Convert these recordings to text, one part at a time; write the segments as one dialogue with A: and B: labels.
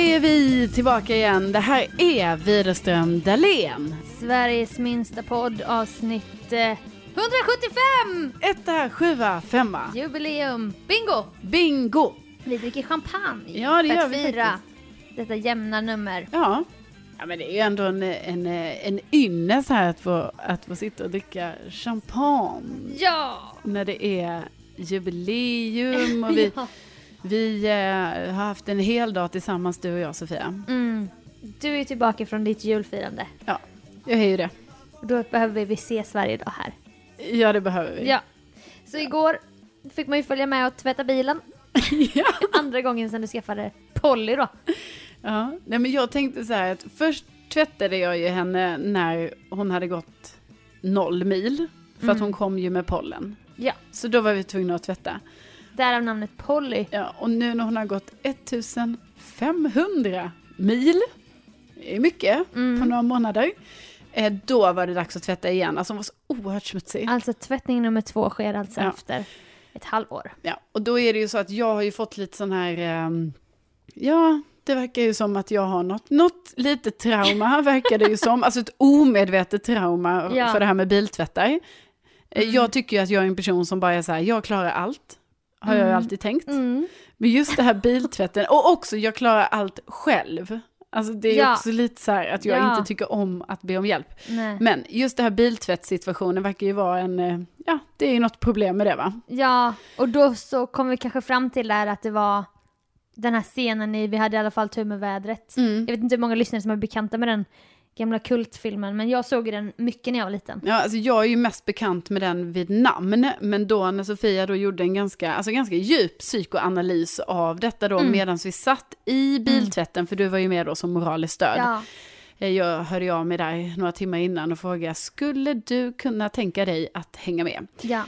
A: vi tillbaka igen. Det här är Widerström Dahlén.
B: Sveriges minsta podd avsnitt eh, 175!
A: Etta, sjua, femma.
B: Jubileum! Bingo!
A: Bingo!
B: Vi dricker champagne
A: Ja, det
B: för
A: gör
B: att
A: vi
B: fira
A: faktiskt.
B: detta jämna nummer.
A: Ja. ja, men det är ju ändå en, en, en ynnest här att få, att få sitta och dricka champagne
B: Ja!
A: när det är jubileum och vi,
B: Ja.
A: vi eh, har haft en hel dag tillsammans du och jag Sofia.
B: Mm. Du är ju tillbaka från ditt julfirande.
A: Ja, jag är ju det.
B: Och Då behöver vi ses varje dag här.
A: Ja, det behöver vi.
B: Ja. Så igår fick man ju följa med och tvätta bilen.
A: ja.
B: Andra gången sedan du skaffade Polly då.
A: Ja, nej men jag tänkte så här att först tvättade jag ju henne när hon hade gått noll mil. För att
B: Mm.
A: hon kom ju med pollen.
B: Ja.
A: Så då var vi tvungna att tvätta.
B: Därav namnet Polly.
A: Ja, och nu när hon har gått 1500 mil, det är mycket på
B: Mm.
A: några månader, eh, då var det dags att tvätta igen. Alltså hon var så oerhört smutsig.
B: Alltså tvättning nummer två sker alltså
A: Ja.
B: efter ett halvår.
A: Ja, och då är det ju så att jag har ju fått lite sån här, ehm, ja, det verkar ju som att jag har något, något litet trauma, verkar det ju som, alltså ett omedvetet trauma
B: Ja.
A: för det här med biltvättar. Eh,
B: Mm.
A: Jag tycker ju att jag är en person som bara är så här, jag klarar allt, har jag ju
B: Mm.
A: alltid tänkt.
B: Mm.
A: Men just det här biltvätten, och också jag klarar allt själv. Alltså det är ju
B: Ja.
A: också lite så här att jag
B: Ja.
A: inte tycker om att be om hjälp.
B: Nej.
A: Men just det här biltvättssituationen verkar ju vara en, eh, ja, det är ju något problem med det va?
B: Ja, och då så kom vi kanske fram till där att det var den här scenen i Vi hade i alla fall tur med vädret.
A: Mm.
B: Jag vet inte hur många lyssnare som är bekanta med den gamla kultfilmen, men jag såg ju den mycket när jag var liten.
A: Ja, alltså jag är ju mest bekant med den vid namn, men då när Sofia då gjorde en ganska, alltså ganska djup psykoanalys av detta då,
B: Mm.
A: medan vi satt i biltvätten, för du var ju med då som moraliskt stöd.
B: Ja,
A: Eh, Jag hörde ju av mig där några timmar innan och frågade, skulle du kunna tänka dig att hänga med?
B: ja.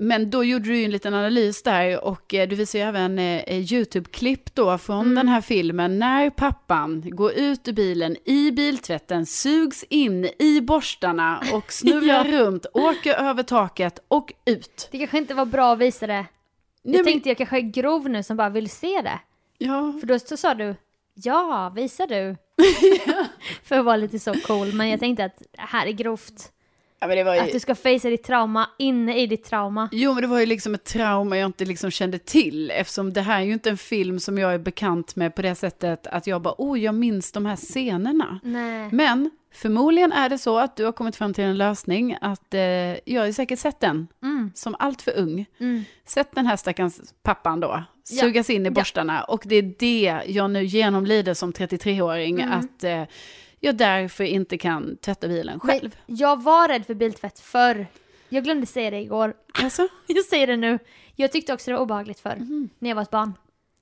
A: Men då gjorde du ju en liten analys där och eh, du visar ju även eh, eh, YouTube-klipp då från den här filmen när pappan går ut ur bilen i biltvätten, sugs in i borstarna och snurrar runt, åker över taket och ut.
B: Det kanske inte var bra att visa det. Jag
A: Nej, men-
B: tänkte jag kanske är grov nu som bara vill se det.
A: Ja,
B: För då så sa du ja, visa du. För att vara lite så cool, men jag tänkte att det här är grovt.
A: ja, men det var
B: Att
A: ju...
B: du ska facea ditt trauma inne i ditt trauma.
A: Jo, men det var ju liksom ett trauma jag inte liksom kände till eftersom det här är ju inte en film som jag är bekant med på det sättet att jag bara, oh, jag minns de här scenerna.
B: Nej.
A: Men förmodligen är det så att du har kommit fram till en lösning att eh, jag har ju säkert sett den
B: Mm,
A: som allt för ung.
B: mm.
A: Sett den här stackars pappan då,
B: Ja.
A: sugas in i borstarna och det är det jag nu genomlider som 33-åring
B: Mm.
A: att eh, jag därför inte kan tvätta bilen
B: Men
A: själv.
B: Jag var rädd för biltvätt förr. Jag glömde säga det igår.
A: Alltså,
B: Jag säger det nu. Jag tyckte också det var obehagligt förr,
A: Mhm.
B: när jag var ett barn.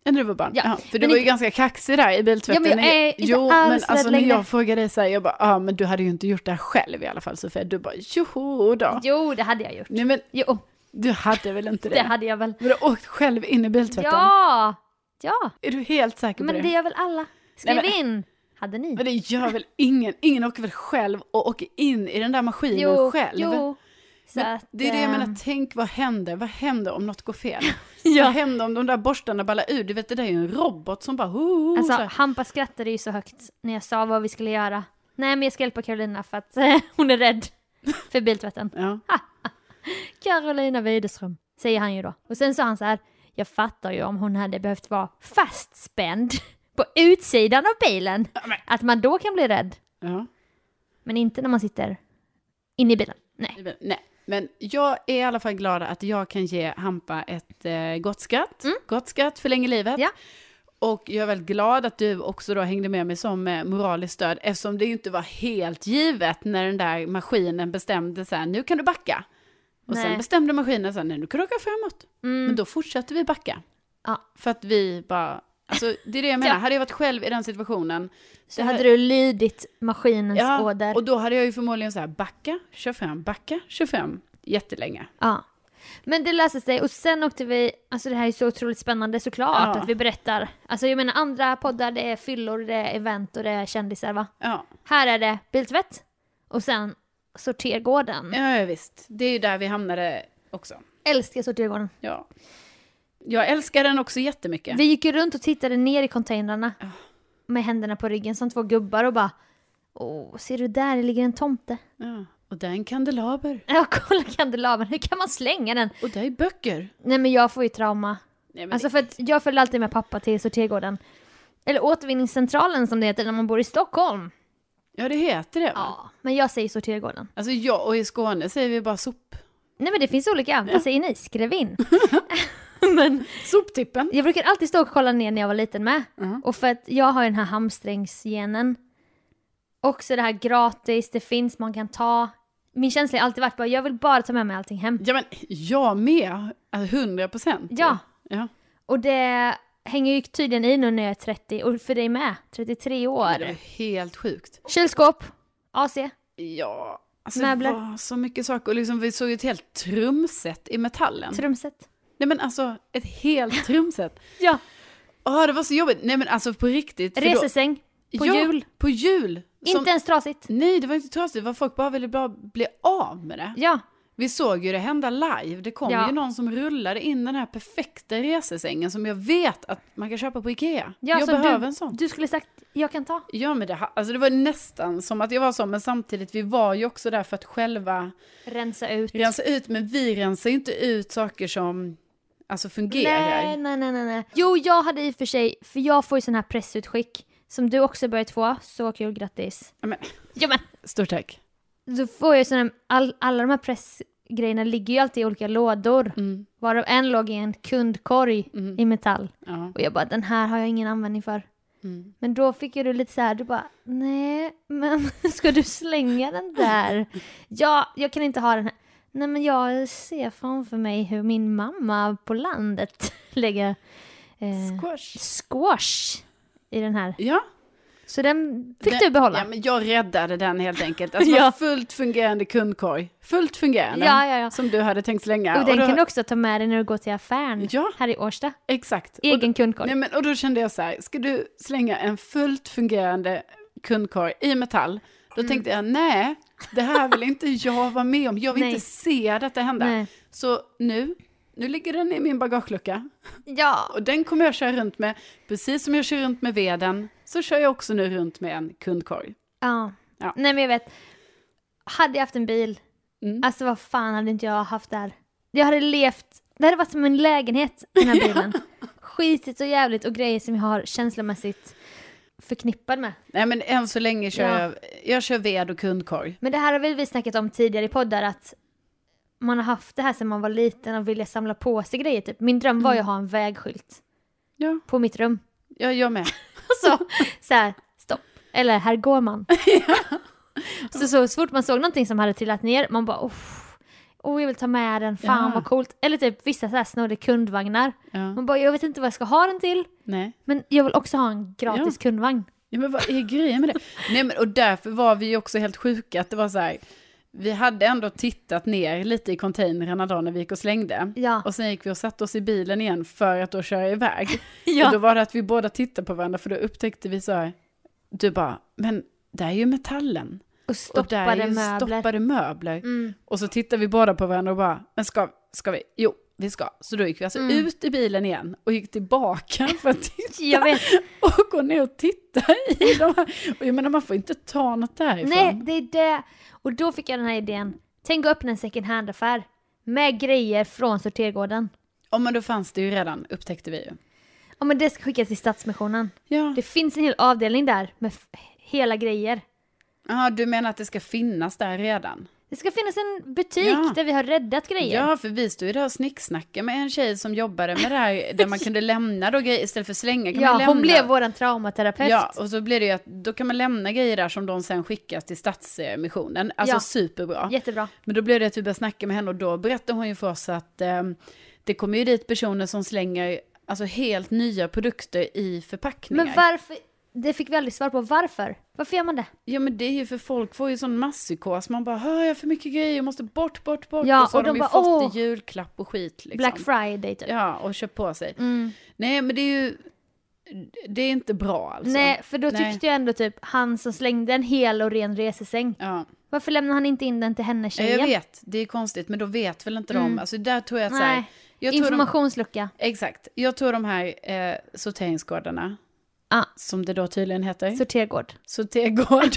A: när du var barn.
B: Ja,
A: Ja. för du
B: men
A: var ju
B: inte-
A: ganska kaxig där i biltvätten.
B: Ja, men jag är inte
A: jo,
B: alls
A: men
B: rädd
A: alltså när
B: längre.
A: jag frågade dig så här, jag bara, ja ah, men du hade ju inte gjort det här själv i alla fall Sofia. Du bara, joho då.
B: Jo, det hade jag gjort.
A: Nej men
B: Jo,
A: du hade väl inte det?
B: det hade jag väl.
A: Men du har åkt själv in i biltvätten?
B: Ja! Ja,
A: Är du helt säker på
B: men det
A: det?
B: gör väl alla. Skriv
A: Nej, men-
B: in! Hade ni?
A: Men det gör väl ingen? Ingen åker väl själv och åker in i den där maskinen
B: Jo,
A: själv?
B: jo. Så
A: Men
B: att,
A: det är det jag
B: ehm,
A: menar, tänk vad händer? Vad händer om något går fel? Vad
B: Ja.
A: händer om de där borstarna ballar ur? Du vet, det där är ju en robot som bara... Ho, ho,
B: Alltså,
A: så här.
B: Hampa skrattade ju så högt när jag sa vad vi skulle göra. Nej, men jag ska hjälpa Carolina för att hon är rädd för biltvätten.
A: ja.
B: Carolina Widerström, säger han ju då. Och sen sa han så här, jag fattar ju om hon hade behövt vara fastspänd på utsidan av bilen,
A: men-
B: att man då kan bli rädd.
A: ja.
B: Men inte när man sitter inne i bilen. Nej.
A: Nej, men jag är i alla fall glad att jag kan ge Hampa ett eh, gott skratt. Gott skratt förlänger livet.
B: Mm. Ja.
A: Och jag är väldigt glad att du också då hängde med mig som eh, moraliskt stöd eftersom det ju inte var helt givet när den där maskinen bestämde så här, nu kan du backa. Och sen
B: Nej.
A: bestämde maskinen så här, nej nu kan du åka framåt.
B: Mm.
A: Men då fortsatte vi backa.
B: Ja.
A: För att vi bara, alltså det är det jag menar,
B: Ja.
A: hade jag varit själv i den situationen.
B: Så
A: det här-
B: hade du lidit maskinens
A: ja,
B: åder.
A: och då hade jag ju förmodligen så här, backa, 25, backa, 25, jättelänge.
B: Ja. Men det löste sig och sen åkte vi, alltså det här är så otroligt spännande såklart
A: Ja.
B: att vi berättar. Alltså jag menar andra poddar det är fyllor, det är event och det är kändisar va?
A: Ja.
B: Här är det biltvätt och sen sortergården.
A: Ja, ja, visst. Det är ju där vi hamnade också.
B: Älskar sortergården.
A: Ja. Jag älskar den också jättemycket.
B: Vi gick ju runt och tittade ner i containrarna. med händerna på ryggen som två gubbar och bara Åh, ser du där, det ligger en tomte.
A: Ja. Och där är en kandelaber.
B: Ja, kolla kandelabern, hur kan man slänga den?
A: Och där är böcker.
B: Nej men jag får ju trauma.
A: Nej, men
B: Alltså för att jag följde alltid med pappa till sortergården. Eller återvinningscentralen som det heter när man bor i Stockholm.
A: Ja, det heter det. Va?
B: Ja, men jag säger sortergården.
A: Alltså, ja, och i Skåne säger vi bara sop.
B: Nej men det finns olika, vad säger ni? Skrevin. men
A: Soptippen.
B: jag brukar alltid stå och kolla ner när jag var liten med.
A: Mhm.
B: Och för att jag har ju den här hamstringsgenen. Också det här gratis, det finns, man kan ta. Min känsla har alltid varit bara, jag vill bara ta med mig allting hem.
A: Ja, men jag med. Alltså, 100 procent.
B: Ja.
A: ja.
B: Och det hänger ju tydligen i nu när jag är 30, och för dig med, 33
A: Det är
B: år.
A: helt sjukt.
B: Kylskåp, AC.
A: Ja. Alltså,
B: Möbler.
A: det var så mycket saker. Och liksom, vi såg ju ett helt trumset i metallen.
B: Trumset.
A: Nej, men alltså, ett helt trumset.
B: Ja,
A: Åh, det var så jobbigt. Nej, men alltså på riktigt. för då-
B: resesäng. På
A: ja,
B: jul.
A: På jul. Som-
B: Inte ens trasigt.
A: Nej, det var inte trasigt. Det var folk bara ville bara bli av med det.
B: Ja,
A: Vi såg ju det hända live. Det kom
B: Ja.
A: ju någon som rullade in den här perfekta resesängen som jag vet att man kan köpa på Ikea.
B: ja
A: jag
B: så
A: behöver
B: du,
A: en sån.
B: Du skulle sagt, jag kan ta.
A: Ja, men det, ha- alltså det var nästan som att jag var så, men samtidigt, vi var ju också där för att själva
B: Rensa ut.
A: rensa ut, men vi rensar ju inte ut saker som alltså fungerar.
B: Nej, nej, nej, nej, nej. Jo, jag hade i och för sig, för jag får ju sån här pressutskick som du också börjat få. Så kul, grattis.
A: Ja, Men,
B: Ja, men
A: stort tack.
B: då får jag ju sån här, all, alla de här pressgrejerna ligger ju alltid i olika lådor.
A: Mm,
B: Varav en låg i en kundkorg
A: Mm.
B: i metall.
A: ja,
B: Och jag bara, den här har jag ingen användning för.
A: mm.
B: Men då fick ju du lite så här, du bara, nej, men ska du slänga den där? Ja, jag kan inte ha den här. Nej, men jag ser framför mig hur min mamma på landet lägger eh,
A: Squash.
B: squash i den här.
A: Ja,
B: Så den fick
A: Den-
B: du behålla.
A: ja, men jag räddade den helt enkelt. Alltså, det
B: Ja.
A: var fullt fungerande kundkorg. Fullt fungerande.
B: Ja, ja, ja.
A: Som du hade tänkt slänga.
B: och den
A: då-
B: kan du också ta med dig när du går till affären
A: Ja.
B: här i Årsta.
A: Exakt. Och
B: Egen kundkorg.
A: Nej, men, och då kände jag så här, ska du slänga en fullt fungerande kundkorg i metall? Då
B: Mm.
A: tänkte jag, nej, det här vill inte jag vara med om. Jag vill
B: Nej.
A: inte se detta hända.
B: Nej.
A: Så nu, nu ligger den i min bagagelucka.
B: Ja.
A: Och den kommer jag köra runt med. Precis som jag kör runt med veden, så kör jag också nu runt med en kundkorg.
B: ja.
A: Ja.
B: Nej, men jag vet. Hade jag haft en bil,
A: Mm.
B: Alltså vad fan hade inte jag haft där? Jag hade levt, det hade varit som en lägenhet den här bilen. Skitigt och jävligt och grejer som jag har känslomässigt förknippad med.
A: Nej, men än så länge kör
B: Ja.
A: jag, jag kör ved och kundkorg.
B: Men det här har väl vi snackat om tidigare i poddar att man har haft det här sedan man var liten och ville samla på sig grejer typ. Min dröm var ju
A: Mm.
B: att ha en vägskylt
A: Ja,
B: på mitt rum.
A: jag, jag med.
B: Så, Alltså, så här, stopp. Eller här går man. så, så fort man såg någonting som hade trillat ner, man bara oh, oh jag vill ta med den, fan
A: Ja.
B: vad coolt. Eller typ vissa så här snodde kundvagnar.
A: Ja,
B: Man bara, jag vet inte vad jag ska ha den till,
A: nej.
B: men jag vill också ha en gratis kundvagn.
A: Ja, men vad är grejen med det? Nej, men, och därför var vi ju också helt sjuka, att det var så här, vi hade ändå tittat ner lite i containrarna då när vi gick och slängde.
B: Ja.
A: Och sen gick vi och satte oss i bilen igen för att då köra iväg.
B: Ja.
A: Och då var det att vi båda tittade på varandra, för då upptäckte vi så här, du bara, men där är ju metallen.
B: Och
A: Och där är
B: stoppade
A: ju
B: möbler.
A: stoppade möbler.
B: Mm.
A: Och så tittade vi båda på varandra och bara, men ska, ska vi? Jo, vi ska. Så då gick vi alltså
B: Mm.
A: ut i bilen igen och gick tillbaka för att titta
B: Jag vet,
A: och gå ner och titta i de här. Och jag menar, man får inte ta något därifrån.
B: nej det är det. Och då fick jag den här idén, tänk att öppna en second hand-affär med grejer från sortergården.
A: Ja, men då fanns det ju redan, upptäckte vi ju.
B: Ja men det ska skickas till Stadsmissionen.
A: Ja,
B: Det finns en hel avdelning där med f- hela grejer.
A: Aha, du menar att det ska finnas där redan?
B: Det ska finnas en butik
A: Ja.
B: där vi har räddat grejer.
A: Ja, för vi stod ju där och snicksnackade med en tjej som jobbade med det här, där man kunde lämna då grejer istället för slänga. Kan man
B: Ja,
A: lämna.
B: hon blev våran traumaterapeut.
A: Ja, och så blir det ju att då kan man lämna grejer där som de sen skickas till Stadsmissionen. Alltså
B: Ja.
A: superbra.
B: Jättebra.
A: Men då blev det att vi började snacka med henne och då berättade hon ju för oss att eh, det kommer ju dit personer som slänger alltså helt nya produkter i förpackningar.
B: Men varför, det fick vi aldrig svar på, varför? Varför gör man det?
A: Ja men det är ju för folk får ju sån masspsykos, man bara hör jag för mycket grejer, jag måste bort, bort, bort.
B: Ja,
A: och så har
B: och
A: de,
B: de
A: ju
B: bara,
A: fått
B: "Åh!"
A: i julklapp och skit liksom.
B: Black Friday typ.
A: Ja, och köpt på sig.
B: Mm.
A: Nej men det är ju, det är inte bra alltså.
B: Nej, för då
A: Nej.
B: tyckte jag ändå typ han som slängde en hel och ren resesäng.
A: Ja,
B: Varför lämnar han inte in den till henne
A: Ja,
B: tjejen?
A: jag vet, det är konstigt, men då vet väl inte
B: Mm.
A: de, alltså där tror jag att så här,
B: Nej,
A: jag tror de,
B: informationslucka.
A: Exakt, jag tror de här eh, sorteringsgårdarna,
B: Ah.
A: Som det då tydligen heter.
B: Sortergård. E
A: Sortergård.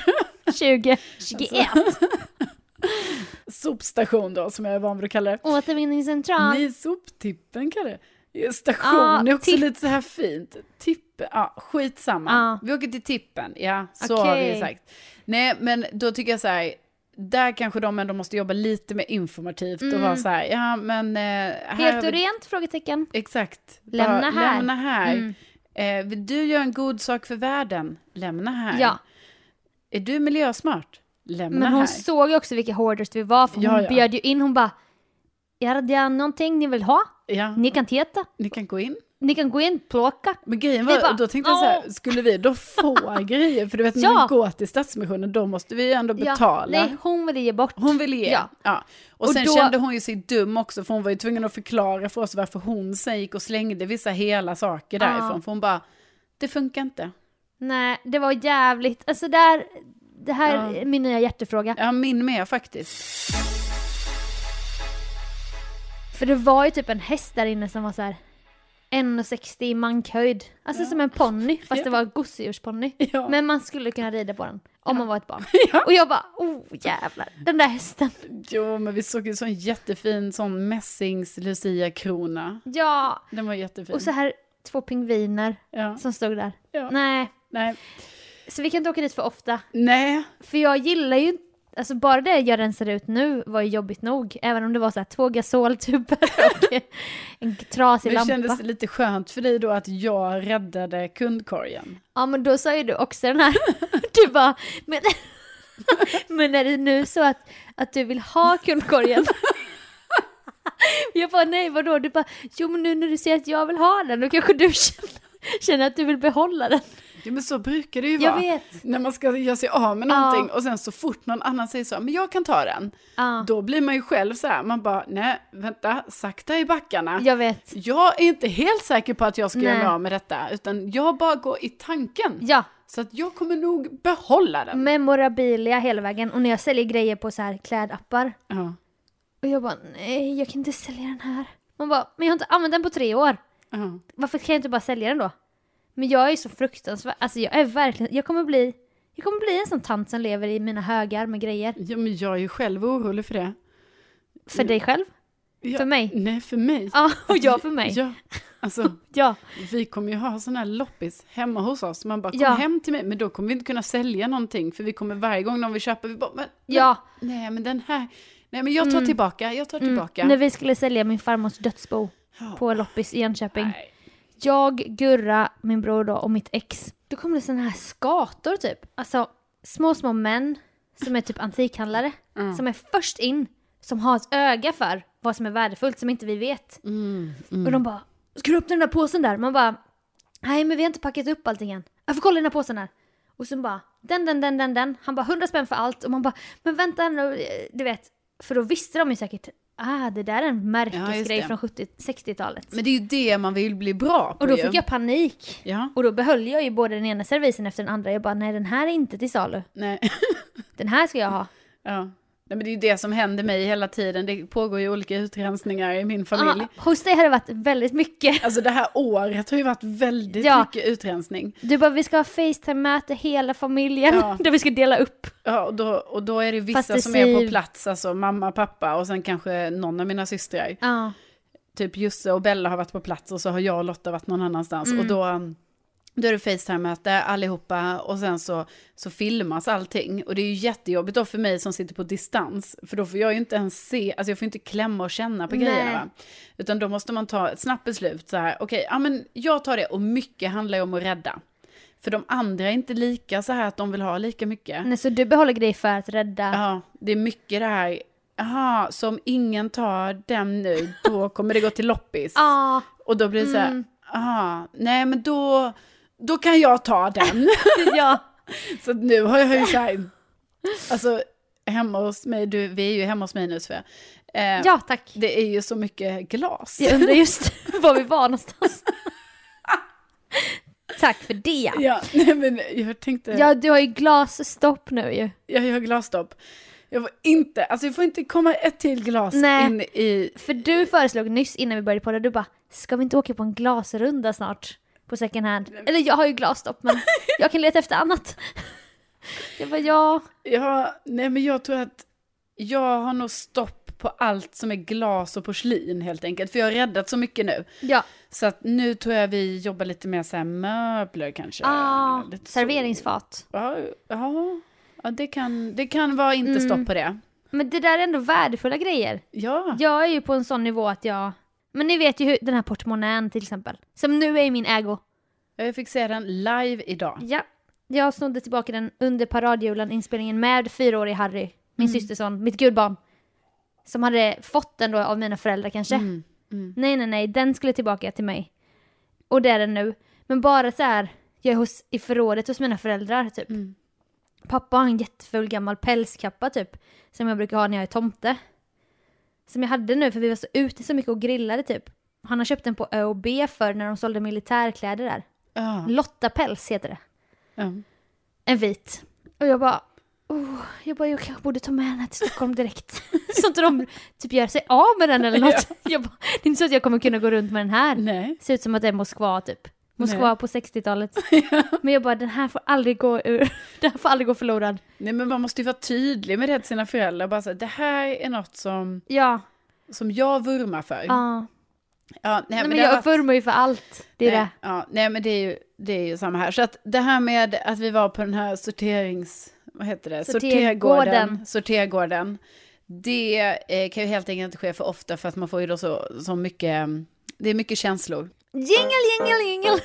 B: 20,
A: Alltså.
B: 21.
A: Sopstation då, som jag är van vid att kalla det.
B: Återvinningscentral.
A: Nej, soptippen kallar jag det. Station
B: Ja,
A: är också
B: tipp.
A: lite så här fint. Tippen, ja skitsamma.
B: Ja.
A: Vi åker till tippen, ja så har vi
B: Okej.
A: ju sagt. Nej men då tycker jag så här, där kanske de ändå måste jobba lite mer informativt och
B: Mm.
A: vara så här, ja men... eh, här har
B: Helt
A: vi-
B: och rent? Frågetecken.
A: Exakt.
B: Lämna
A: Bara,
B: här.
A: Lämna här.
B: Mm.
A: Eh, vill du göra en god sak för världen? Lämna här.
B: Ja.
A: Är du miljösmart? Lämna
B: Men hon
A: här.
B: såg ju också vilka hoarders vi var, för hon
A: Ja, ja.
B: bjöd ju in, hon bara Är det någonting ni vill ha?
A: Ja,
B: Ni kan titta,
A: ni kan gå in.
B: ni kan gå in, plocka.
A: Men grejen
B: Vi
A: var,
B: bara,
A: då tänkte jag så
B: "Åh."
A: här, skulle vi då få grejer? För du vet, när
B: Ja.
A: vi går till Stadsmissionen, då måste vi ju ändå
B: Ja,
A: betala.
B: nej, hon ville ge bort.
A: Hon ville ge.
B: Ja.
A: Ja. Och,
B: Och
A: sen
B: då-
A: kände hon ju sig dum också, för hon var ju tvungen att förklara för oss varför hon sen gick och slängde vissa hela saker
B: Ja.
A: därifrån. För hon bara, det funkar inte.
B: Nej, det var jävligt, alltså där, det här
A: Ja.
B: är min nya hjärtefråga.
A: Ja, min med faktiskt.
B: För det var ju typ en häst där inne som var så här 1,60 i mankhöjd. Alltså som en ponny, fast det var en gosedjursponny.
A: Ja.
B: Men man skulle kunna rida på den, om man var ett barn. Och jag bara, oh jävlar, den där hästen.
A: Jo, men vi såg ju en sån jättefin sån mässings Lucia-krona.
B: Ja,
A: Den var jättefin.
B: och så här två pingviner
A: ja.
B: som stod där.
A: Ja.
B: Nej,
A: Nej.
B: så vi kan inte åka dit för ofta.
A: Nej.
B: För jag gillar ju inte Alltså bara det jag rensade ut nu var ju jobbigt nog, även om det var så här två gasoltuber och en trasig
A: Men det
B: lampa.
A: kändes lite skönt för dig då att jag räddade kundkorgen.
B: Ja men då sa ju du också den här, du bara, men, men är det nu så att, att du vill ha kundkorgen? Jag bara nej vadå? Du bara jo men nu när du säger att jag vill ha den då kanske du känner, känner att du vill behålla den.
A: Ja, men så brukar det ju
B: Jag
A: vara.
B: vet.
A: När man ska göra sig av med
B: Ja.
A: någonting och sen så fort någon annan säger så, men jag kan ta den.
B: Ja,
A: Då blir man ju själv så här, man bara, nej, vänta, sakta i backarna.
B: jag vet.
A: Jag är inte helt säker på att jag ska göra
B: Nej.
A: mig av med detta, utan jag bara går i tanken.
B: Ja,
A: Så att jag kommer nog behålla den.
B: memorabilia hela vägen och när jag säljer grejer på så här klädappar
A: Ja.
B: och jag bara nej jag kan inte sälja den här. Man bara men jag har inte använt den på tre år.
A: Ja.
B: varför kan jag inte bara sälja den då? Men jag är så fruktansvärd, alltså jag är verkligen, jag kommer bli, jag kommer bli en sån tant som lever i mina högar med grejer.
A: Ja, men jag är ju själv orolig för det.
B: För dig själv?
A: Ja,
B: För mig?
A: Nej, för mig.
B: Ja, och jag för mig.
A: Ja, alltså,
B: Ja.
A: vi kommer ju ha sån här loppis hemma hos oss. Man bara, kom
B: Ja.
A: hem till mig. Men då kommer vi inte kunna sälja någonting. För vi kommer varje gång någon vill köpa, vi bara, men,
B: Ja.
A: men, nej men den här. Nej men jag tar tillbaka, jag tar
B: Mm.
A: tillbaka.
B: När vi skulle sälja min farmors dödsbo
A: Ja.
B: på loppis i Jönköping.
A: Nej.
B: Jag, Gurra, min bror då och mitt ex. Då kom det såna här skator typ. Alltså små, små män som är typ antikhandlare.
A: Mm.
B: Som är först in. Som har ett öga för vad som är värdefullt som inte vi vet.
A: Mm,
B: Och
A: mm.
B: de bara “Skruva upp den där påsen där”. Man bara “Nej men vi har inte packat upp allting än. Jag får kolla den där påsen här”. Och sen bara “Den, den, den, den, den”. Han bara “100 spänn för allt” och man bara “Men vänta nu, eh, du vet”. För då visste de ju säkert “Ah, det där är en märkesgrej
A: det.
B: från 70 60-talet”.
A: Men det är ju det man vill bli bra på
B: Och då
A: ju.
B: fick jag panik.
A: Ja,
B: Och då behöll jag ju både den ena servisen efter den andra. Jag bara “Nej den här är inte till salu.
A: nej.
B: Den här ska jag ha”.
A: ja. nej men det är ju det som händer mig hela tiden. Det pågår ju olika utrensningar i min familj.
B: Ah, hos dig har det varit väldigt mycket.
A: Alltså det här året har ju varit väldigt
B: Ja.
A: mycket utrensning.
B: Du bara “Vi ska ha Facetime-möte hela familjen”
A: Ja.
B: där vi ska dela upp.
A: Ja, och då, och då är det
B: Fast
A: vissa
B: det
A: som är
B: ser-
A: på plats, alltså mamma, pappa och sen kanske någon av mina systrar.
B: Ja.
A: Typ Jusse och Bella har varit på plats och så har jag och Lotta varit någon annanstans.
B: Mm.
A: Och då, um, då är det Facetime-möte allihopa och sen så, så filmas allting. Och det är ju jättejobbigt då för mig som sitter på distans. För då får jag ju inte ens se, alltså jag får inte klämma och känna på
B: Nej.
A: grejerna. Va? Utan då måste man ta ett snabbt beslut så här, okej, ja men jag tar det och mycket handlar ju om att rädda. För de andra är inte lika så här att de vill ha lika mycket.
B: Nej, så du behåller grejer för att rädda
A: Ja, det är mycket det här. Jaha, så om ingen tar den nu, då kommer det gå till loppis.
B: Ja,
A: Och då blir det så
B: Mm.
A: här, aha, nej men då, då kan jag ta den.
B: ja.
A: så att nu har jag ju så här, alltså hemma hos mig, du, vi är ju hemma hos mig nu Svea. Eh,
B: ja tack.
A: Det är ju så mycket glas.
B: Jag undrar just var vi var någonstans. tack för det.
A: Ja, nej men jag tänkte,
B: Ja, du har ju glasstopp nu ju.
A: jag gör glasstopp. Jag får inte, alltså jag får inte komma ett till glas
B: Nej.
A: in i,
B: För du föreslog nyss innan vi började podda, du bara “ska vi inte åka på en glasrunda snart?” på second hand. Eller jag har ju glasstopp men jag kan leta efter annat. Jag bara, ja.
A: Ja, nej men jag tror att jag har nog stopp på allt som är glas och porslin helt enkelt. För jag har räddat så mycket nu.
B: ja.
A: Så att nu tror jag vi jobbar lite mer så här möbler kanske.
B: Ah,
A: Lite så.
B: serveringsfat.
A: Ja, ja, ja det, kan, det kan vara inte
B: Mm.
A: stopp på det.
B: Men det där är ändå värdefulla grejer.
A: Ja,
B: Jag är ju på en sån nivå att jag... Men ni vet ju hur, den här portmonnän till exempel. Som nu är i min ägo.
A: jag fick se den live idag.
B: Ja. Jag snodde tillbaka den under paradjulen, inspelningen med fyraårig Harry. Min
A: Mm.
B: systerson, mitt gudbarn. Som hade fått den då av mina föräldrar kanske.
A: Mm, mm.
B: Nej, nej, nej, den skulle tillbaka till mig. Och det är den nu. Men bara så här, jag är hos, i förrådet hos mina föräldrar typ.
A: Mm.
B: Pappa har en jätteful gammal pälskappa typ. Som jag brukar ha när jag är tomte. Som jag hade nu för vi var så ute så mycket och grillade typ. Han har köpt den på ÖoB för när de sålde militärkläder där.
A: Ja,
B: Lotta päls heter det.
A: ja.
B: Mm. En vit. Och jag bara, oh, jag bara, jag kanske borde ta med den här till Stockholm direkt. så inte de typ gör sig av med den eller något. Jag bara, det är inte så att jag kommer kunna gå runt med den här.
A: Nej.
B: Ser ut som att det är Moskva typ. Moskva
A: Nej.
B: på 60-talet. Men jag bara, den här får aldrig gå ur. Den här får aldrig gå förlorad.
A: Nej, men man måste ju vara tydlig med det till sina föräldrar. Bara så här, det här är något som,
B: Ja,
A: som jag vurmar för.
B: ja.
A: Ja, nej,
B: Nej,
A: det
B: men
A: har
B: jag
A: varit-
B: vurmar ju för allt. Det är
A: nej,
B: det.
A: Ja, nej, men det är, ju, det är ju samma här. Så att det här med att vi var på den här sorterings... Vad heter det? Sortergården.
B: Sortergården.
A: Sortergården. Det eh, kan ju helt enkelt inte ske för ofta för att man får ju då så, så mycket... Det är mycket känslor.
B: Jingel, jingel, jingel!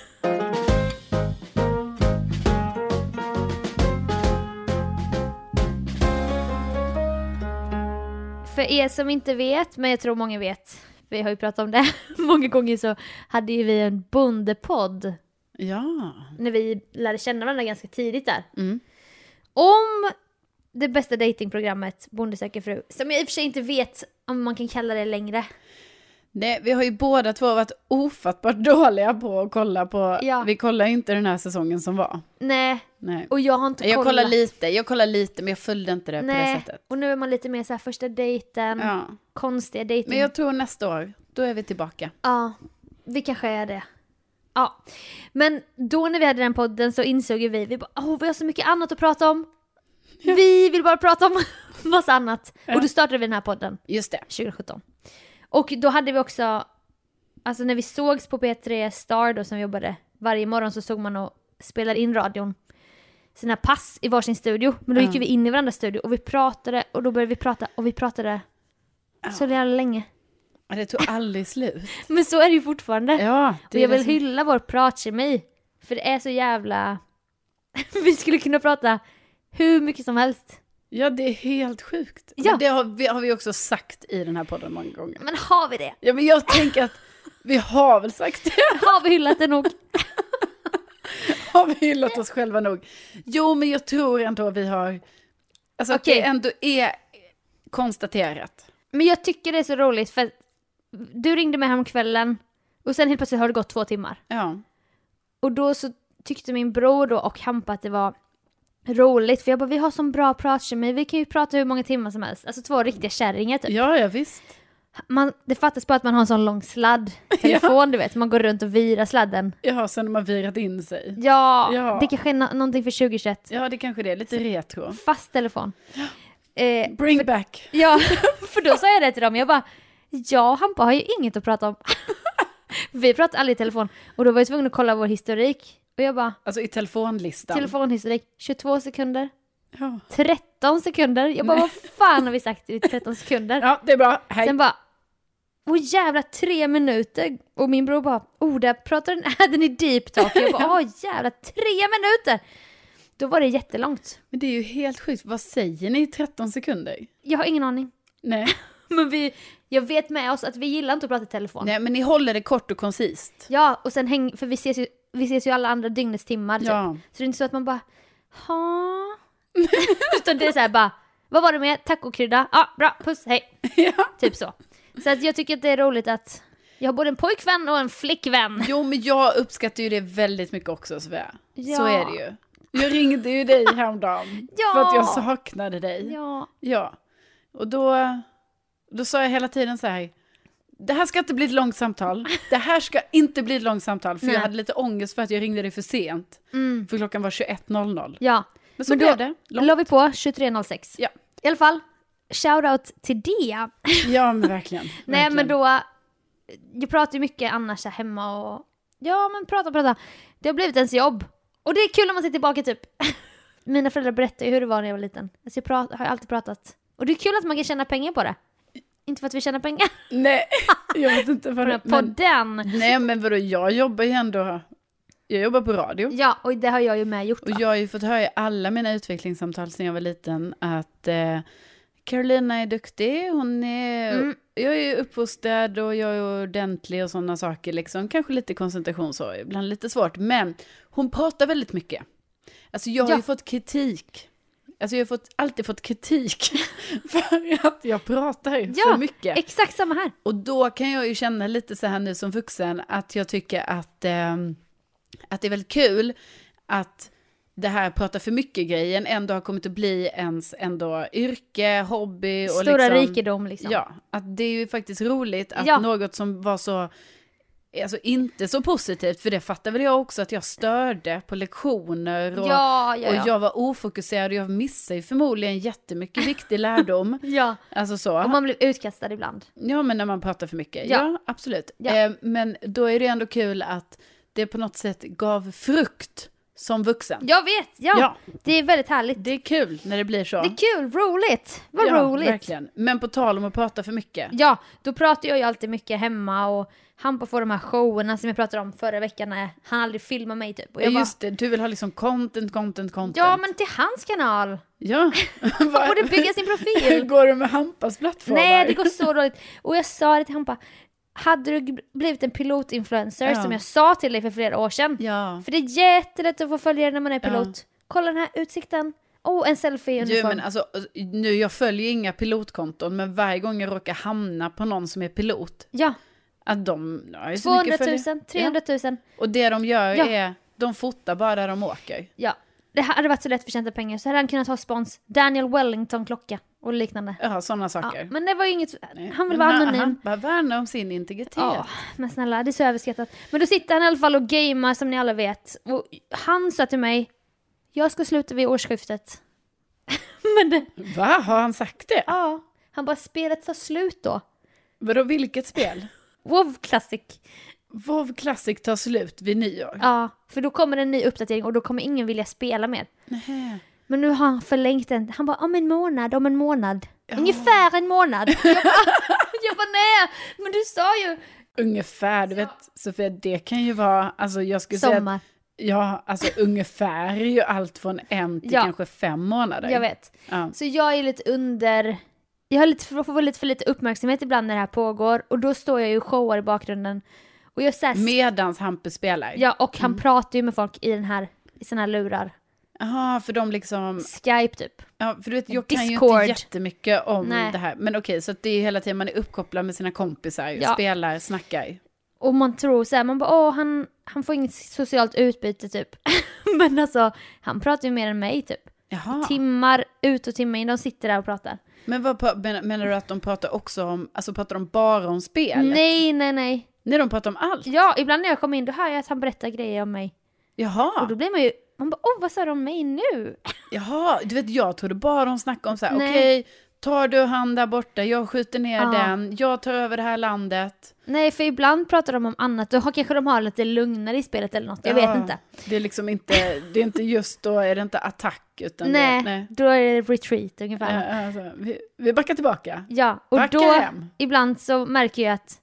B: För er som inte vet, men jag tror många vet, vi har ju pratat om det många gånger, så hade ju vi en bondepodd
A: Ja.
B: när vi lärde känna varandra ganska tidigt där.
A: Mm.
B: Om det bästa datingprogrammet Bonde söker fru, som jag i och för sig inte vet om man kan kalla det längre.
A: Nej, vi har ju båda två varit ofattbart dåliga på att kolla på...
B: Ja.
A: Vi kollar ju inte den här säsongen som var.
B: Nej,
A: Nej.
B: och jag har inte
A: Jag kollar
B: kollat.
A: lite, jag kollar lite men jag följde inte det på det
B: Nej,
A: sättet.
B: och nu är man lite mer så här första dejten,
A: Ja.
B: konstiga dejting.
A: Men jag tror nästa år, då är vi tillbaka.
B: Ja, vi kanske är det. Ja, men då när vi hade den podden så insåg ju vi, vi bara, åh vi har så mycket annat att prata om. Vi vill bara prata om massa annat. Och då startade vi den här podden
A: Just det.
B: 2017. Och då hade vi också, alltså när vi sågs på P3 Star då som vi jobbade, varje morgon så såg man och spelade in radion sina pass i varsin studio. Men då gick
A: Ja.
B: vi in i varandras studio och vi pratade och då började vi prata och vi pratade så jävla länge.
A: Ja, Det tog aldrig slut.
B: Men så är det ju fortfarande.
A: Ja,
B: och jag vill hylla vår pratkemi. För det är så jävla... vi skulle kunna prata hur mycket som helst.
A: ja, det är helt sjukt.
B: Ja.
A: Men det har vi, har vi också sagt i den här podden många gånger.
B: Men har vi det?
A: Ja, men jag tänker att vi har väl sagt det.
B: Har vi hyllat det nog?
A: Har vi hyllat oss själva nog? Jo, men jag tror ändå vi har... Alltså att
B: Okej.
A: det ändå är konstaterat.
B: Men jag tycker det är så roligt för att du ringde mig häromkvällen och sen helt plötsligt har det gått två timmar.
A: Ja.
B: Och då så tyckte min bror då och Hampa att det var roligt för jag bara vi har sån bra pratkemi, vi kan ju prata hur många timmar som helst. Alltså två riktiga kärringar typ.
A: Ja, ja, visst.
B: Man, det fattas bara att man har en sån lång sladd telefon du vet, man går runt och virar sladden.
A: Ja, sen har man virat in sig.
B: Ja,
A: Ja.
B: det kanske är no- någonting för 2021.
A: Ja, det kanske det är. Lite retro.
B: Fast telefon. Eh,
A: Bring back.
B: Ja, för då sa jag det till dem. Jag bara, jag och Hampa har ju inget att prata om. Vi pratar aldrig i telefon. Och då var jag tvungen att kolla vår historik. Och jag bara,
A: Alltså i telefonlistan.
B: telefonhistorik, 22 sekunder,
A: Ja.
B: 13 sekunder. Jag bara,
A: Nej.
B: vad fan har vi sagt i 13 sekunder?
A: ja, det är bra. Hej.
B: Sen bara, åh jävla tre minuter. Och min bror bara, oh där pratar den, hade ni deep talk? Jag bara, åh jävla tre minuter. Då var det jättelångt.
A: Men det är ju helt sjukt. Vad säger ni i 13 sekunder?
B: Jag har ingen aning.
A: Nej.
B: Men vi, jag vet med oss att vi gillar inte att prata i telefon.
A: Nej, men ni håller det kort och koncist.
B: Ja, och sen häng, för vi ses ju, vi ses ju alla andra dygnets timmar typ.
A: Ja.
B: Så det är inte så att man bara, ha. Utan det är så här bara, vad var det med? Tacokrydda? Ja, bra, puss, hej.
A: ja.
B: Typ så. Så att jag tycker att det är roligt att jag har både en pojkvän och en flickvän.
A: Jo, men jag uppskattar ju det väldigt mycket också, Svea.
B: Ja.
A: Så är det ju. Jag ringde ju dig häromdagen
B: Ja.
A: för att jag saknade dig.
B: Ja.
A: Ja. Och då, då sa jag hela tiden så här, Det här ska inte bli ett långt samtal. Det här ska inte bli ett långt samtal. För
B: Nej.
A: jag hade lite ångest för att jag ringde dig för sent.
B: Mm.
A: För klockan var 21.00.
B: Ja,
A: Men så
B: Men då-
A: blev det.
B: då
A: Långt.
B: la vi på 23.06.
A: Ja.
B: I alla fall, shoutout till det.
A: Ja, men verkligen.
B: Nej
A: verkligen.
B: men då, jag pratar ju mycket annars här hemma och ja men prata prata. Det har blivit ens jobb. Och det är kul när man ser tillbaka typ. Mina föräldrar berättar ju hur det var när jag var liten. Alltså jag prat, har ju alltid pratat. Och det är kul att man kan tjäna pengar på det. Inte för att vi tjänar pengar
A: Nej, jag vet inte
B: på
A: vad
B: den här
A: det... Men,
B: podden.
A: nej, men vadå, jag jobbar ju ändå... Jag jobbar på radio.
B: Ja, och det har jag ju med gjort
A: Och
B: va?
A: jag har ju fått höra i alla mina utvecklingssamtal sedan jag var liten att eh, Carolina är duktig, hon är...
B: Mm.
A: Jag är uppfostrad och jag är ordentlig och sådana saker liksom. Kanske lite koncentration så, ibland lite svårt. Men hon pratar väldigt mycket. Alltså jag har
B: Ja.
A: ju fått kritik. Alltså jag har fått, alltid fått kritik för att jag pratar ju
B: Ja,
A: för mycket.
B: Exakt samma här.
A: Och då kan jag ju känna lite så här nu som vuxen att jag tycker att, ehm, att det är väldigt kul att det här prata för mycket-grejen ändå har kommit att bli ens ändå yrke, hobby och
B: Stora
A: liksom,
B: rikedom liksom.
A: Ja, att det är ju faktiskt roligt att
B: Ja.
A: något som var så, alltså inte så positivt, för det fattar väl jag också att jag störde på lektioner och,
B: ja, ja.
A: och
B: ja.
A: jag var ofokuserad och jag missade ju förmodligen jättemycket viktig lärdom.
B: ja.
A: Alltså så.
B: Och man blev utkastad ibland.
A: Ja, men när man pratar för mycket. Ja,
B: Ja.
A: absolut.
B: Ja.
A: Eh, men då är det ändå kul att det på något sätt gav frukt som vuxen.
B: Jag vet, ja.
A: Ja.
B: Det är väldigt härligt.
A: Det är kul när det blir så.
B: Det är kul, roligt. Vad
A: ja,
B: roligt.
A: Verkligen. Men på tal om att prata för mycket.
B: Ja, då pratar jag ju alltid mycket hemma och Hampa får de här showerna som jag pratade om förra veckan när han aldrig filmar mig typ. Och jag
A: Ja, Just det, du vill ha liksom content, content, content.
B: bara, ja men till hans kanal!
A: Ja.
B: Han borde bygga sin profil!
A: Går du med Hampas plattformar?
B: Nej, det går så dåligt. Och jag sa det till Hampa, hade du blivit en pilotinfluencer
A: Ja.
B: som jag sa till dig för flera år sedan.
A: Ja.
B: För det är jättelätt att få följare när man är
A: Ja.
B: pilot. Kolla den här utsikten! Oh, en selfie i
A: Jo,
B: uniform.
A: men alltså, nu, jag följer inga pilotkonton, men varje gång jag råkar hamna på någon som är pilot,
B: Ja,
A: att de... Ja, det är så
B: 200
A: mycket
B: 000,
A: följare.
B: 300 000.
A: Och det de gör
B: Ja.
A: är, de fotar bara där de åker.
B: Ja. Det här hade varit så lätt förtjänta pengar så hade han kunnat ha spons. Daniel Wellington-klocka och liknande.
A: Ja, sådana
B: Ja,
A: saker.
B: men det var ju inget,
A: Nej.
B: han vill
A: Men
B: vara
A: Han
B: anonym.
A: bara värnar om sin integritet.
B: Ja, men snälla, det är så överskattat. Men då sitter han i alla fall och gamer som ni alla vet. Och han sa till mig, jag ska sluta vid årsskiftet. men det,
A: Va, har han sagt det?
B: ja. Han bara, spelet tar slut då.
A: Vadå, vilket spel?
B: WoW Classic.
A: WoW Classic tar slut vid nyår.
B: Ja, för då kommer en ny uppdatering och då kommer ingen vilja spela mer.
A: Nähä.
B: Men nu har han förlängt den. Han bara om en månad, om en månad. Ungefär en månad. Jag bara, jag bara nej, men du sa ju
A: Ungefär, du vet Sofia, det kan ju vara, alltså jag skulle säga att,
B: sommar.
A: ja, alltså ungefär är ju allt från en till
B: Ja.
A: kanske fem månader.
B: Jag vet.
A: Ja.
B: Så jag är lite under, jag har lite, får väl lite för lite uppmärksamhet ibland när det här pågår och då står jag ju och showar i bakgrunden. Och jag säger
A: Medans Hampus spelar.
B: ja och
A: Mm.
B: han pratar ju med folk i den här, i såna här lurar.
A: Jaha, för de liksom,
B: Skype typ.
A: ja, för du vet jag kan ju
B: Discord.
A: inte jättemycket om
B: Nej.
A: det här. Men okej, så att det är hela tiden man är uppkopplad med sina kompisar,
B: Ja.
A: spelar, snackar.
B: Och man tror så här, man bara åh han, han får inget socialt utbyte typ. men alltså, han pratar ju mer än mig typ.
A: Jaha.
B: Timmar ut och timmar in, de sitter där och pratar.
A: Men vad pra- men, menar du att de pratar också om, alltså pratar de bara om spel?
B: Nej, nej, nej.
A: Nej, de pratar om allt.
B: Ja, ibland när jag kommer in då hör jag att han berättar grejer om mig.
A: Jaha,
B: Och då blir man ju, man bara åh vad sa de om mig nu?
A: jaha, du vet jag trodde bara de snackade om så här,
B: Nej.
A: okej, tar du hand där borta, jag skjuter ner
B: Ja.
A: den, jag tar över det här landet.
B: Nej, för ibland pratar de om annat, då har- kanske de har lite lugnare i spelet eller något, jag
A: Ja,
B: vet inte.
A: Det är liksom inte, det är inte just då, är det inte attack, utan
B: Nej,
A: det, nej.
B: då är det retreat ungefär.
A: Eh, Alltså, vi, vi backar tillbaka.
B: Ja, och
A: Backa
B: då
A: hem.
B: ibland så märker jag att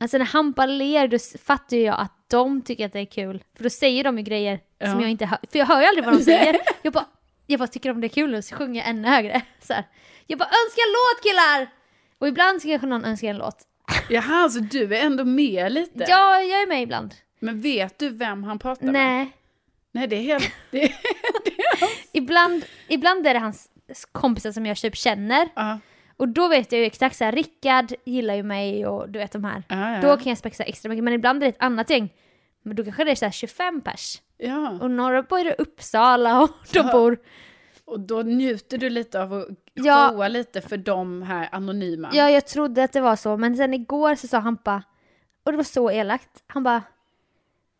B: Alltså när Hampa ler då s- fattar ju jag att de tycker att det är kul. För då säger de ju grejer
A: Ja.
B: som jag inte hör. För jag hör ju aldrig vad de säger. Jag bara, jag bara tycker om det är kul och så sjunger jag ännu högre. Så här. Jag bara önska en låt killar! Och ibland så kanske någon önskar en låt.
A: Jaha, så du är ändå med lite?
B: Ja, jag är med ibland.
A: Men vet du vem han pratar med?
B: Nej.
A: Nej, det är helt, det är,
B: Ibland, ibland är det hans kompisar som jag typ känner.
A: ja,
B: Och då vet jag ju exakt så här, Rickard gillar ju mig och du vet de här.
A: ja, ja.
B: Då kan jag spexa extra mycket, men ibland är det ett annat gäng. Men då kanske det är så här 25 pers.
A: ja.
B: Och några bor i Uppsala och de bor
A: Och då njuter du lite av att
B: Ja.
A: showa lite för de här anonyma.
B: Ja, jag trodde att det var så, men sen igår så sa han bara, och det var så elakt, han bara,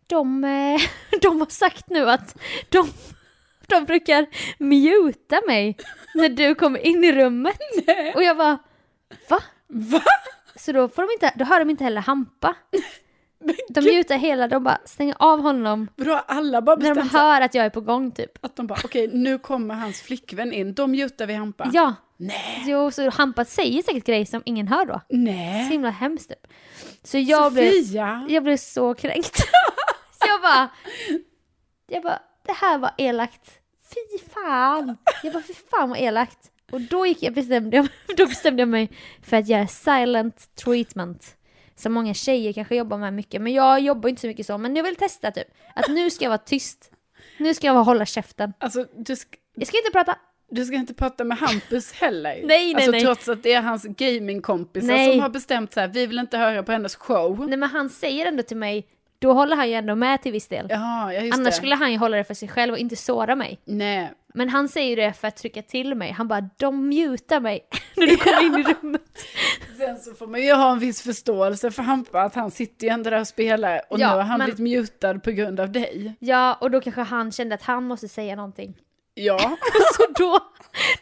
B: de, eh, de har sagt nu att de, de brukar muta mig när du kommer in i rummet. Och jag bara, va?
A: Va?
B: Så då, får de inte, då hör de inte heller Hampa. De
A: gud.
B: mutar hela, de bara stänger av honom
A: Bra, alla bara
B: när de
A: bestämt sig
B: hör att jag är på gång typ.
A: att de bara, okej nu kommer hans flickvän in, de mutar vi Hampa.
B: Ja,
A: Nej.
B: jo, så Hampa säger säkert grejer som ingen hör då. Så
A: Nej.
B: himla hemskt typ. Så jag blev...
A: Sofia!
B: Jag blev så kränkt. så jag bara, jag bara, det här var elakt. Fy fan. Jag bara, fy fan vad elakt. Och då, gick jag, bestämde jag, då bestämde jag mig för att göra silent treatment. Som många tjejer kanske jobbar med mycket, men jag jobbar inte så mycket så. Men jag vill testa typ, att nu ska jag vara tyst. Nu ska jag bara hålla käften.
A: Alltså du ska,
B: Jag ska inte prata.
A: du ska inte prata med Hampus heller.
B: nej,
A: alltså,
B: nej.
A: Trots att det är hans gamingkompisar
B: Nej.
A: som har bestämt så här, vi vill inte höra på hennes show.
B: Nej men han säger ändå till mig, då håller han ju ändå med till viss del.
A: Ja, ja just
B: Annars
A: det.
B: skulle han ju hålla det för sig själv och inte såra mig.
A: Nej.
B: Men han säger ju det för att trycka till mig. Han bara de mutar mig när du kommer in i rummet.
A: Sen så får man ju ha en viss förståelse för Hampa, att han sitter ju ändå där och spelar och
B: Ja,
A: nu har han
B: men-
A: blivit mutad på grund av dig.
B: Ja, och då kanske han kände att han måste säga någonting.
A: Ja.
B: Så då,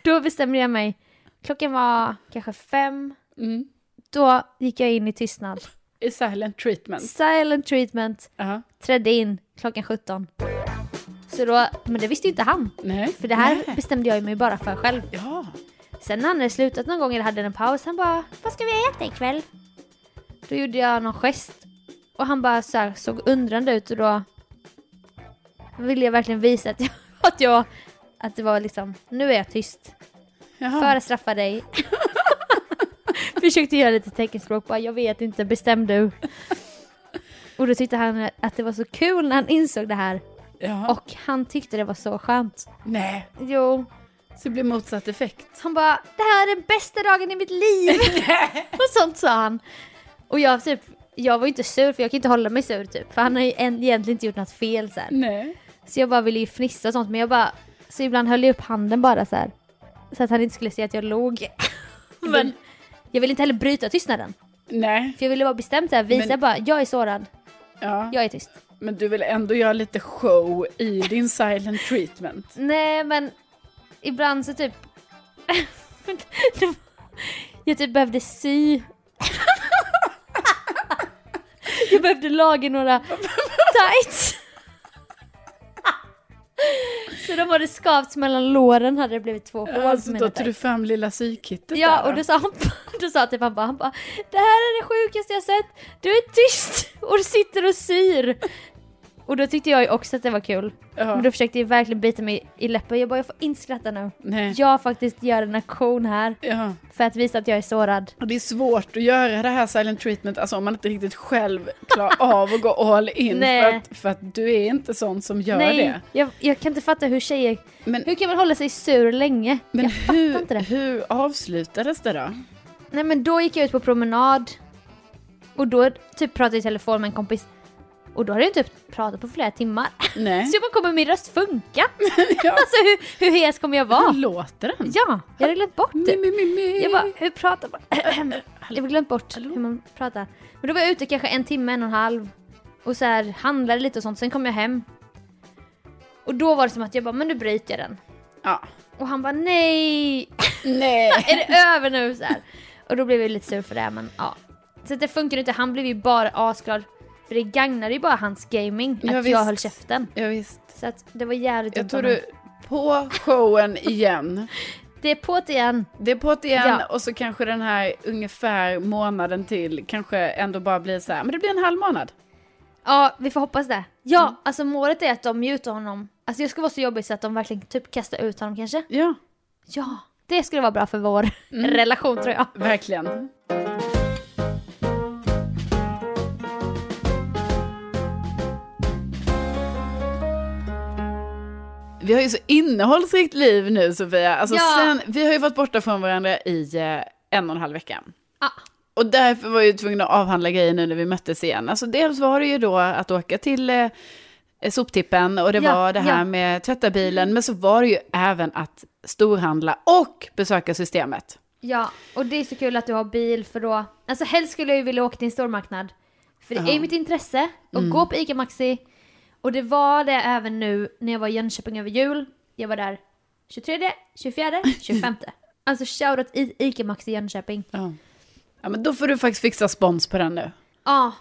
B: då bestämde jag mig. Klockan var kanske fem.
A: Mm.
B: Då gick jag in i tystnad.
A: I silent treatment.
B: Silent treatment.
A: Ja.
B: Trädde in klockan 17. Så då, men det visste ju inte han.
A: Nej.
B: För det här
A: Nej.
B: bestämde jag ju mig bara för själv.
A: Ja.
B: Sen när han hade slutat någon gång eller hade en paus, han bara Vad ska vi äta ikväll? Då gjorde jag någon gest och han bara så här, såg undrande ut och då ville jag verkligen visa att jag, att jag att det var liksom, nu är jag tyst.
A: Jaha.
B: För att straffa dig. Försökte göra lite teckenspråk, bara jag vet inte, bestäm du. Och då tyckte han att det var så kul när han insåg det här.
A: Jaha.
B: Och han tyckte det var så skönt.
A: Nej.
B: Jo,
A: Så det blir motsatt effekt.
B: han bara “Det här är den bästa dagen i mitt liv” och sånt sa han. Och jag typ, jag var ju inte sur för jag kan inte hålla mig sur typ för han har ju en- egentligen inte gjort något fel så här.
A: Nej.
B: Så jag bara ville ju fnissa och sånt men jag bara, så ibland höll jag upp handen bara så här. Så att han inte skulle se att jag låg. Men jag ville inte heller bryta tystnaden.
A: Nej.
B: För jag ville vara bestämd så här, visa
A: Men-
B: bara “Jag är sårad,
A: Ja.
B: jag är tyst”.
A: Men du vill ändå göra lite show i din silent treatment.
B: Nej men ibland så typ Jag typ behövde sy Jag behövde laga några tights Så då var det skavt mellan låren hade det blivit två hål
A: Alltså, då
B: på mina
A: tog
B: tights.
A: du fram lilla psykkittet
B: Ja
A: där,
B: och då sa han, då sa typ han bara, han bara Det här är det sjukaste jag sett! Du är tyst och du sitter och syr! Och då tyckte jag ju också att det var kul
A: ja.
B: men då försökte jag verkligen bita mig i läppen. Jag bara, jag får inte skratta nu.
A: Nej.
B: Jag faktiskt gör en aktion här
A: Ja.
B: för att visa att jag är sårad.
A: Och det är svårt att göra det här silent treatment, alltså om man inte riktigt själv klarar av att gå all in. För
B: Nej.
A: att, för att du är inte sån som gör
B: Nej,
A: det.
B: jag, jag kan inte fatta hur tjejer...
A: Men,
B: Hur kan man hålla sig sur länge?
A: men
B: jag fattar
A: hur,
B: inte det.
A: hur avslutades det då?
B: Nej men då gick jag ut på promenad och då typ pratade jag i telefon med en kompis. Och då hade jag typ pratat på flera timmar.
A: Nej.
B: Så jag bara, kommer min röst funka?
A: ja.
B: Alltså hur, hur hes kommer jag vara?
A: Hur låter den? Mm,
B: Ja, jag hade glömt bort det.
A: Mi, mi, mi, mi.
B: Jag bara, hur pratar man? jag har glömt bort hur man pratar. Men då var jag ute kanske en timme, en och en halv. Och så här handlade lite och sånt. Sen kom jag hem. Och då var det som att jag bara, men nu bryter jag den.
A: Ja.
B: Och han bara, nej!
A: Nej.
B: Är det över nu? Så här. Och då blev jag lite sur för det, men ja. Så att det funkar inte. Han blev ju bara asglad. För det gagnade ju bara hans gaming
A: Ja,
B: att jag
A: visst.
B: höll käften.
A: Ja, visst.
B: Så att det var jävligt
A: Jag
B: dumt
A: tror
B: av mig.
A: du, på showen igen.
B: Det är på't igen.
A: Det är på det igen
B: Ja.
A: och så kanske den här ungefär månaden till kanske ändå bara blir så här, men det blir en halv månad.
B: Ja, vi får hoppas det. Ja, alltså målet är att de mutar honom. Alltså jag ska vara så jobbig så att de verkligen typ kastar ut honom kanske.
A: Ja,
B: Ja, det skulle vara bra för vår relation tror jag.
A: verkligen. Vi har ju så innehållsrikt liv nu Sofia. Alltså
B: Ja.
A: sen, vi har ju varit borta från varandra i eh, en och en halv vecka.
B: Ja,
A: Och därför var jag ju tvungen att avhandla grejer nu när vi möttes igen. Alltså dels var det ju då att åka till eh, eh, soptippen och det
B: Ja,
A: var det här
B: ja.
A: med tvätta bilen. Men så var det ju även att storhandla och besöka systemet.
B: Ja, och det är så kul att du har bil för då, alltså helst skulle jag ju vilja åka till en stormarknad. För det
A: Ja.
B: är ju mitt intresse att gå på ICA Maxi. Och det var det även nu när jag var i Jönköping över jul. Jag var där 23, 24, 25. alltså shoutout i ICA Maxi Jönköping.
A: Ja. ja, men då får du faktiskt fixa spons på den nu.
B: Ja.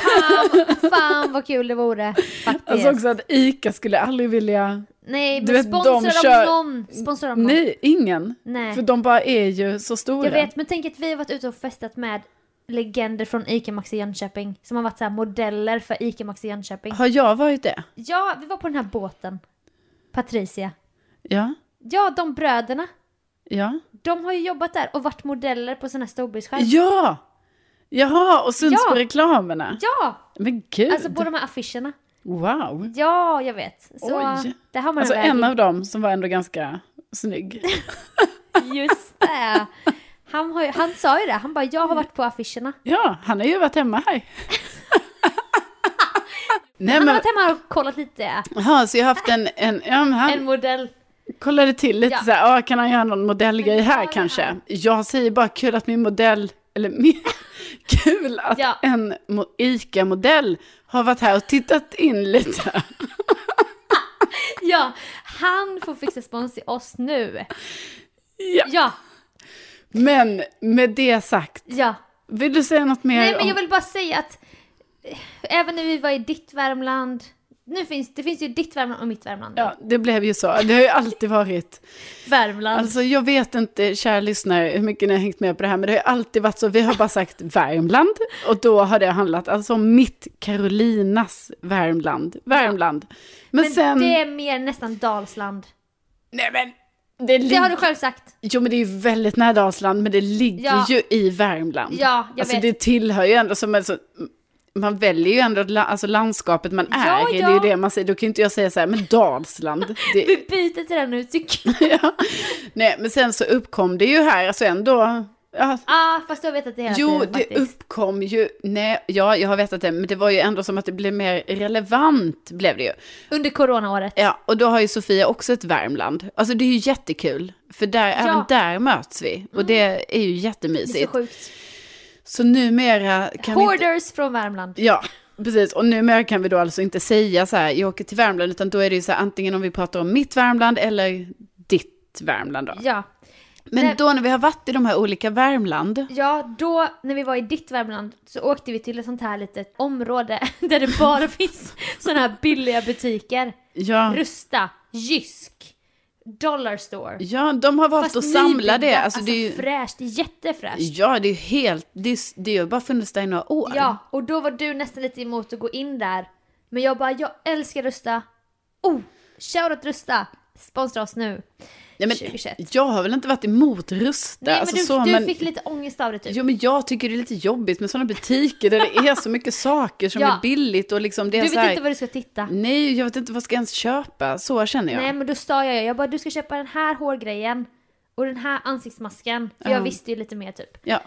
B: Fan, fan vad kul det vore faktiskt.
A: Alltså också att ICA skulle aldrig vilja...
B: Nej
A: du
B: men
A: vet, de
B: sponsra dem
A: kör-
B: någon! Sponsra dem någon.
A: Nej, ingen.
B: Nej.
A: För de bara är ju så stora.
B: Jag vet, men tänk att vi har varit ute och festat med legender från ICA Maxi Jönköping som har varit så här modeller för ICA Maxi Jönköping.
A: Har jag varit det?
B: Ja, vi var på den här båten. Patricia.
A: Ja,
B: Ja, de bröderna.
A: ja.
B: De har ju jobbat där och varit modeller på såna här storbildsskärmar.
A: Ja! Jaha, och syns
B: Ja.
A: på reklamerna.
B: Ja!
A: Men gud,
B: Alltså på de här affischerna.
A: wow.
B: Ja, jag vet. Så
A: Oj.
B: där har man
A: Alltså
B: väg
A: en
B: in.
A: av dem som var ändå ganska snygg.
B: Just det. Han, har ju, han sa ju det, han bara jag har varit på affischerna.
A: Ja, han har ju varit hemma här. Nej
B: Han
A: men,
B: har varit hemma och kollat lite.
A: aha, så jag har haft en, en ja men han
B: En modell.
A: kollade till lite
B: Ja.
A: så här, ah, kan han göra någon modellgrej
B: Ja,
A: här
B: det
A: kanske?
B: här.
A: Jag säger bara kul att min modell, eller min, kul att
B: Ja.
A: en mo- ICA-modell har varit här och tittat in lite.
B: Ja, han får fixa spons till oss nu.
A: Ja.
B: Ja,
A: Men med det sagt,
B: ja.
A: vill du säga något mer?
B: Nej men
A: om-
B: jag vill bara säga att eh, även när vi var i ditt Värmland, nu finns det finns ju ditt Värmland och mitt Värmland.
A: Ja, det blev ju så. Det har ju alltid varit.
B: Värmland.
A: Alltså jag vet inte, kära lyssnare, hur mycket ni har hängt med på det här, men det har ju alltid varit så. Vi har bara sagt Värmland och då har det handlat alltså om mitt Carolinas Värmland. Värmland. Men,
B: men
A: sen...
B: det är mer nästan Dalsland.
A: Nej men! Det,
B: Det
A: lig...
B: har du själv sagt.
A: Jo men det är ju väldigt nära Dalsland, men det ligger
B: Ja.
A: ju i Värmland.
B: Ja, jag
A: alltså
B: vet.
A: det tillhör ju ändå som en så... Man väljer ju ändå la- alltså landskapet man
B: Ja,
A: är i, det är
B: ja.
A: ju det man säger. Då kan ju inte jag säga så här, men Dalsland. Det,
B: Vi byter till den nu tycker jag.
A: ja. Nej, men sen så uppkom det ju här, alltså ändå... Ja,
B: Ah, fast jag vet att det hela
A: jo,
B: tiden
A: det
B: faktiskt.
A: uppkom ju... Nej, ja, jag har vetat det, men det var ju ändå som att det blev mer relevant, blev det ju.
B: Under coronaåret.
A: Ja, och då har ju Sofia också ett Värmland. Alltså det är ju jättekul, för där, även där möts vi. Och det är ju
B: Mm. Det är
A: jättemysigt.
B: så sjukt.
A: Så numera kan vi inte...
B: Hoarders från Värmland.
A: Ja, precis. Och numera kan vi då alltså inte säga så här, jag åker till Värmland, utan då är det ju så här, antingen om vi pratar om mitt Värmland eller ditt Värmland då.
B: Ja.
A: Men
B: Nej.
A: då när vi har varit i de här olika Värmland,
B: ja, då när vi var i ditt Värmland så åkte vi till ett sånt här litet område där det bara finns såna här billiga butiker.
A: ja,
B: Rusta, Jysk, Dollar Store.
A: ja de har valt att samla det.
B: nybyggda,
A: Alltså, det är ju,
B: fräscht, jättefräscht.
A: ja, det är ju helt, det, är, det har ju bara funnits där i några år.
B: Ja, och då var du nästan lite emot att gå in där. Men jag bara, jag älskar Rusta. Oh, shoutout Rusta! Sponsra oss nu.
A: Nej, men,
B: 2021.
A: jag har väl inte varit emot Rusta.
B: Nej
A: alltså,
B: men du,
A: så,
B: du
A: men,
B: fick lite ångest av det typ.
A: Jo, men jag tycker det är lite jobbigt med sådana butiker där det är så mycket saker som
B: Ja.
A: är billigt och liksom det
B: du
A: är
B: vet
A: så här,
B: inte vad du ska titta.
A: Nej, jag vet inte vad ska jag ens köpa. Så känner jag.
B: Nej men då sa jag ju, jag bara du ska köpa den här hårgrejen och den här ansiktsmasken. För
A: Ja.
B: jag visste ju lite mer typ.
A: Ja.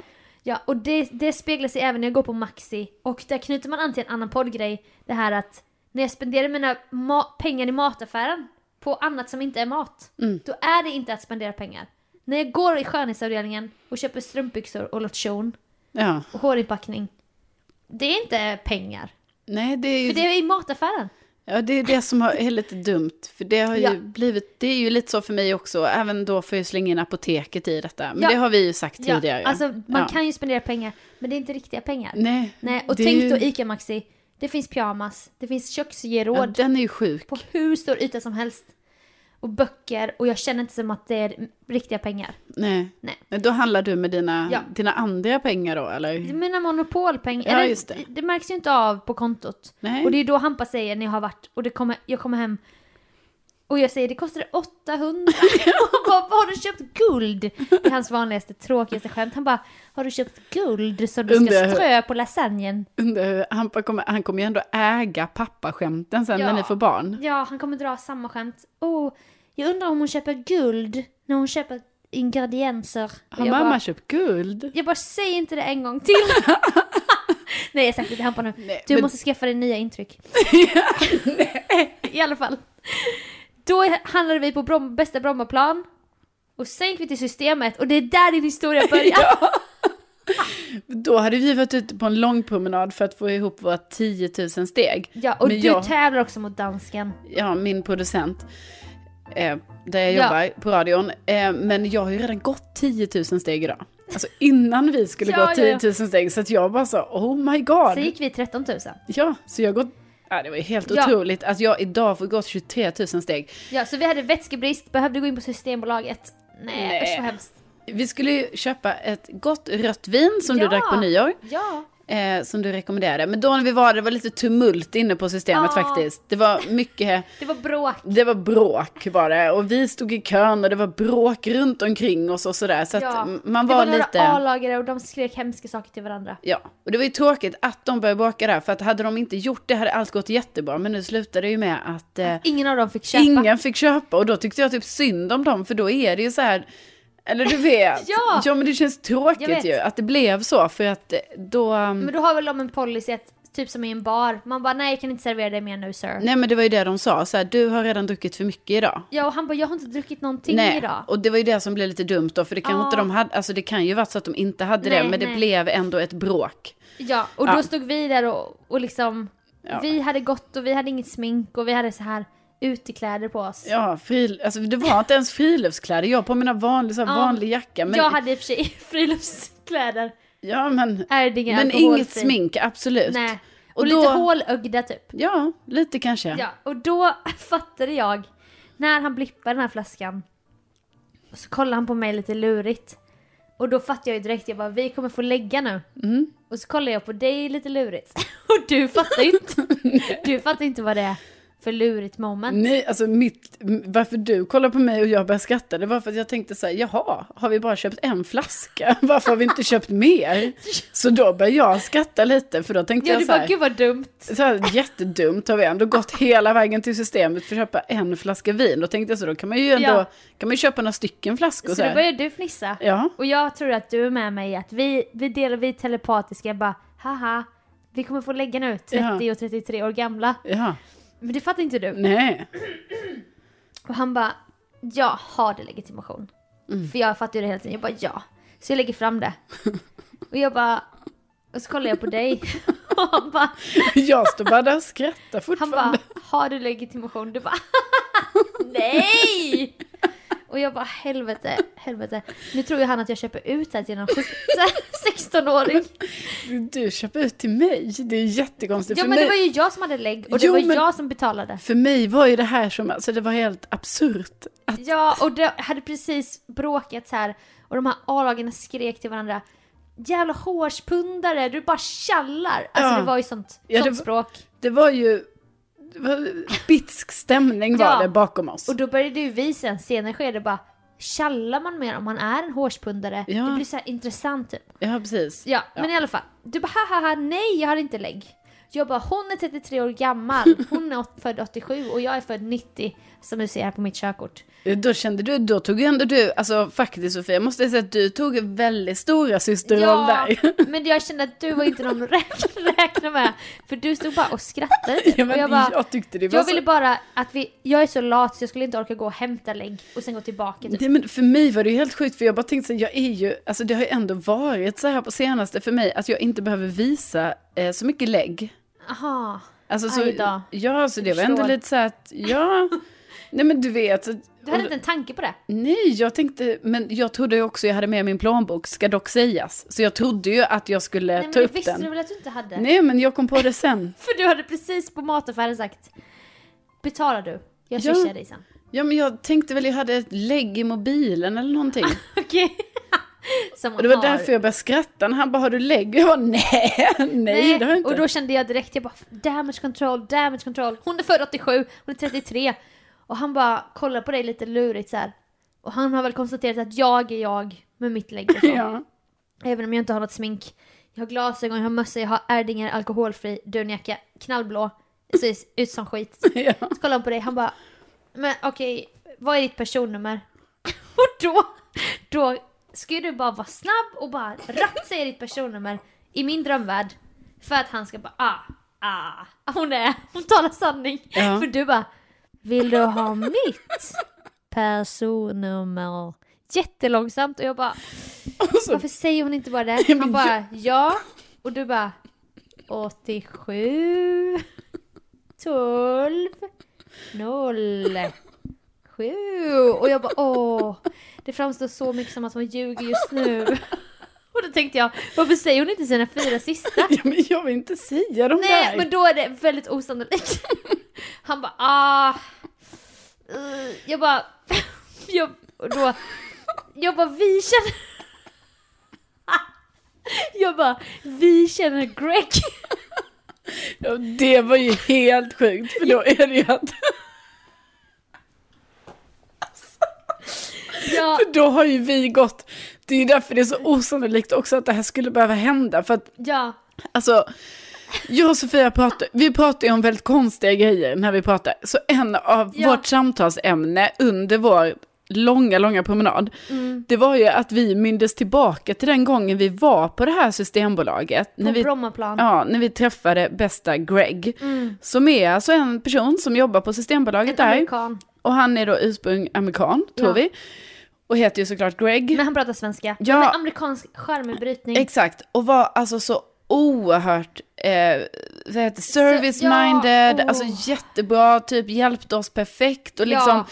B: Ja, och det, det speglar sig även när jag går på Maxi. Och där knyter man an till en annan poddgrej. Det här att när jag spenderar mina ma- pengar i mataffären på annat som inte är mat,
A: Mm.
B: då är det inte att spendera pengar. När jag går i skönhetsavdelningen och köper strumpbyxor och lotion
A: ja.
B: och hårinpackning, det är inte pengar.
A: Nej, det är ju
B: För det är i mataffären.
A: Ja, det, är det som har, är lite dumt. För det har ju
B: Ja.
A: blivit, det är ju lite så för mig också. Även då får jag slänga in apoteket i detta. Men
B: Ja.
A: det har vi ju sagt
B: Ja,
A: tidigare.
B: alltså man
A: Ja.
B: kan ju spendera pengar, men det är inte riktiga pengar.
A: Nej,
B: Nej, och
A: det är
B: tänk
A: ju-
B: då ICA Maxi, det finns pyjamas, det finns
A: Ja,
B: köksgeråd.
A: den är ju sjuk.
B: på hur stor yta som helst. Och böcker och jag känner inte som att det är riktiga pengar.
A: Mm. Nej.
B: Nej.
A: Men då handlar du med dina,
B: Ja.
A: dina andra pengar då,
B: Det
A: eller?
B: är Mina monopolpengar,
A: Ja,
B: eller,
A: just det.
B: märks ju inte av på kontot.
A: Nej.
B: Och det är då Hampa säger när jag har varit och det kommer, jag kommer hem och jag säger det kostade 800. och bara, "Vad har du köpt guld? Det är hans vanligaste tråkigaste skämt. Han bara, har du köpt guld som du ska
A: Undrar hur-
B: strö på lasagnen?
A: Undrar hur- Han bara kommer, han kommer ju ändå äga pappaskämten sen
B: Ja.
A: när ni får barn.
B: Ja, han kommer dra samma skämt. Oh, jag undrar om hon köper guld när hon köper ingredienser.
A: Har
B: Jag
A: mamma
B: bara-
A: köpt guld?
B: Jag bara säger inte det en gång till. Nej jag sagt det till Hampa nu.
A: Nej,
B: Du
A: men-
B: måste skaffa dig nya intryck. I alla fall. Då handlade vi på Brom- bästa Brommaplan. Och sen gick vi till systemet och det är där din historia börjar.
A: Då hade vi varit ute på en lång promenad för att få ihop våra 10 000 steg.
B: Ja, och
A: Men
B: du
A: jag-
B: tävlar också mot dansken.
A: Ja, min producent, eh, där jag
B: Ja.
A: jobbar på radion. Eh, men jag har ju redan gått 10 000 steg idag. Alltså innan vi skulle
B: Ja,
A: gå
B: ja, ja.
A: 10 000 steg. Så att jag bara sa, oh my god.
B: Sen gick vi 13 000.
A: Ja, så jag har gått... Ja, det var ju helt
B: Ja.
A: otroligt att jag idag får gå 23 000 steg.
B: Ja, så vi hade vätskebrist, behövde gå in på Systembolaget. Nej,
A: Nej.
B: usch vad hemskt.
A: Vi skulle ju köpa ett gott rött vin som
B: Ja.
A: du drack på nyår.
B: Ja.
A: Eh, som du rekommenderade. Men då när vi var där, det var lite tumult inne på systemet
B: Ja.
A: faktiskt. Det var mycket...
B: Det var bråk.
A: Det var bråk var det. Och vi stod i kön och det var bråk runt omkring oss och sådär. Så
B: Ja.
A: att m- man
B: Det
A: var,
B: var
A: lite...
B: några A-lagare och de skrek hemska saker till varandra.
A: Ja, och det var ju tråkigt att de började bråka där. För att hade de inte gjort det hade allt gått jättebra. Men nu slutade det ju med att... Eh,
B: Ingen av dem fick köpa.
A: Ingen fick köpa och då tyckte jag typ synd om dem för då är det ju så här eller du vet.
B: Ja.
A: men det känns
B: Jag
A: tråkigt
B: vet.
A: ju att det blev så för att eh, då...
B: Men då har väl de en policy att, typ som i en bar, man bara nej jag kan inte servera dig mer nu sir.
A: Nej men det var ju det de sa, så här, du har redan druckit för mycket idag.
B: Ja och han bara jag har inte druckit någonting
A: nej,
B: idag.
A: och det var ju det som blev lite dumt då för det kan
B: Ja.
A: inte de hade, alltså det kan ju varit så att de inte hade det
B: Nej,
A: men det
B: nej.
A: blev ändå ett bråk.
B: Ja och
A: Ja.
B: då stod vi där och, och liksom,
A: Ja.
B: vi hade gått och vi hade inget smink och vi hade så här utekläder på oss.
A: Ja, fril, alltså det var inte ens friluftskläder, jag på mina vanliga, så här,
B: Ja.
A: vanlig jacka. Men,
B: Jag hade i och för sig friluftskläder.
A: ja, men,
B: Är det ingen
A: men
B: alkoholfri?
A: inget smink, absolut.
B: Nej.
A: Och
B: Och,
A: då-
B: lite hålögda typ.
A: Ja, lite kanske.
B: Ja, och då fattade jag när han blippade den här flaskan. Och så kollade han på mig lite lurigt. Och då fattade jag ju direkt, jag bara vi kommer få lägga nu.
A: Mm.
B: Och så kollade jag på dig lite lurigt. Och du fattar ju inte. Du fattar inte vad det är för lurigt moment.
A: Nej, alltså mitt, m- varför du kollar på mig och jag börjar skratta, det var för att jag tänkte så här, jaha, har vi bara köpt en flaska? Varför har vi inte köpt mer? Så då började jag skratta lite, för då tänkte
B: Ja,
A: jag
B: du
A: så
B: bara
A: här,
B: gud vad dumt.
A: så här, jättedumt har vi ändå gått hela vägen till systemet för att köpa en flaska vin. Då tänkte jag så, då kan man ju ändå,
B: Ja.
A: kan man ju köpa några stycken flaskor
B: Så
A: så
B: då
A: här.
B: började du fnissa.
A: Ja,
B: Och jag tror att du är med mig i att vi, vi delar, vi är telepatiska bara haha. Vi kommer få lägga nu 30 och 33 år gamla.
A: ja,
B: Men det fattar inte du.
A: nej,
B: Och han bara, jag har det legitimation.
A: Mm.
B: För jag fattar ju det hela tiden. Jag bara, ja. Så jag lägger fram det. och jag bara, och så kollar jag på dig. och han bara,
A: jag står bara där och skrattar
B: han
A: fortfarande.
B: bara, har du legitimation? Du bara, nej! Och jag bara, helvete, helvete. Nu tror ju han att jag köper ut det här till någon sjut- 16-åring.
A: Du köper ut till mig, det är jättekonstigt.
B: Ja
A: för
B: men
A: mig...
B: det var ju jag som hade lägg och det
A: Jo,
B: var
A: men-
B: jag som betalade.
A: För mig var ju det här som, alltså det var helt absurt.
B: Ja, och det hade precis bråkat så här och de här A-lagarna skrek till varandra Jävla hårspundare, du bara tjallar! Alltså
A: Ja.
B: det var ju sånt,
A: Ja,
B: sånt
A: det-
B: språk.
A: Det var ju det var, bitsk stämning var
B: Ja.
A: det bakom oss.
B: Och då började ju vi sen, senare skede bara Tjallar man mer om man är en hårspundare?
A: Ja.
B: Det blir så här intressant typ.
A: Ja, precis.
B: Ja, men i alla fall. Du bara haha, nej jag har inte lägg. Jag bara hon är 33 år gammal, hon är åt- född 87 och jag är född 90 som du ser här på mitt körkort.
A: Då kände du, då tog ju ändå du, alltså faktiskt Sofia, jag måste säga att du tog en väldigt stora systerroll där.
B: men jag kände att du var inte någon att räkna, räkna med. För du stod bara och skrattade. typ.
A: Ja,
B: och
A: men
B: jag
A: jag,
B: bara,
A: tyckte det var
B: jag ville bara att vi, jag är så lat så jag skulle inte orka gå och hämta lägg och sen gå tillbaka
A: så...
B: typ.
A: Nej, men för mig var det ju helt sjukt, för jag bara tänkte så här, jag är ju, alltså det har ju ändå varit så här på senaste för mig, att jag inte behöver visa eh, så mycket lägg.
B: Aha.
A: Alltså, så,
B: Aj då.
A: ja, så det
B: Jag
A: var ändå
B: förstår.
A: lite så här att, ja, nej men du vet. så-
B: Du hade
A: och-
B: inte en tanke på det?
A: Nej, jag tänkte, men jag trodde ju också jag hade med min plånbok, ska dock sägas. Så jag trodde ju att jag skulle
B: Nej men
A: ta
B: det
A: upp
B: visste
A: den.
B: du väl att du inte hade?
A: Nej, men jag kom på det sen.
B: För du hade precis på mataffären sagt Betalar du? Jag
A: Ja.
B: swishar dig sen.
A: Ja, men jag tänkte väl jag hade ett lägg i mobilen eller någonting.
B: Okej. Som
A: Och det var därför jag började skratta när han bara, har du lägg? Jag bara, nej, nej, det har jag inte.
B: Och då kände jag direkt, jag bara damage control, damage control. Hon är född 87, hon är 33. Och han bara kollar på dig lite lurigt så här. Och han har väl konstaterat att jag är jag med mitt lägg och så.
A: Ja,
B: Även om jag inte har något smink. Jag har glasögon, jag har mössa, jag har Erdinger alkoholfri dunjacka, knallblå. Jag ser ut som skit.
A: ja.
B: Så kollar han på dig, han bara Men okej, vad är ditt personnummer? Och då, då ska ju du bara vara snabb och bara rappt säga ditt personnummer i min drömvärld. För att han ska bara ah, ah. Hon är, hon talar sanning.
A: Ja.
B: För du bara, vill du ha mitt personnummer? Jättelångsamt och jag bara,
A: Och så,
B: varför säger hon inte bara
A: Ja,
B: det?
A: Alltså, men
B: Han bara, ja. Och du bara, 87, 12, 0, 7. Och jag bara, åh. Det framstår så mycket som att hon ljuger just nu. Och då tänkte jag, varför säger hon inte sina fyra sista?
A: ja, men jag vill inte säga de
B: Nej,
A: där.
B: men då är det väldigt osannolikt. Han bara ah. Eh, Jag bara, jag, och då, jag bara vi känner... Jag bara, vi känner Greg.
A: Ja, det var ju helt sjukt, för då är det ju att,
B: Ja,
A: för då har ju vi gått, det är ju därför det är så osannolikt också att det här skulle behöva hända, för att
B: ja,
A: Alltså, jag och Sofia pratar, vi pratar ju om väldigt konstiga grejer när vi pratar. Så en av
B: Ja.
A: vårt samtalsämne under vår långa, långa promenad,
B: Mm.
A: det var ju att vi mindes tillbaka till den gången vi var på det här Systembolaget.
B: på
A: När vi,
B: Brommaplan.
A: ja, när vi träffade bästa Greg,
B: Mm.
A: som är alltså en person som jobbar på Systembolaget
B: En
A: där.
B: amerikan.
A: Och han är då ursprung amerikan, tror
B: Ja.
A: vi. Och heter ju såklart Greg.
B: Men han pratar svenska.
A: Ja.
B: Han har amerikansk charmbrytning.
A: Exakt, och var alltså så oerhört eh, vad heter, service-minded,
B: ja, åh.
A: alltså jättebra, typ hjälpte oss perfekt och
B: Ja.
A: liksom,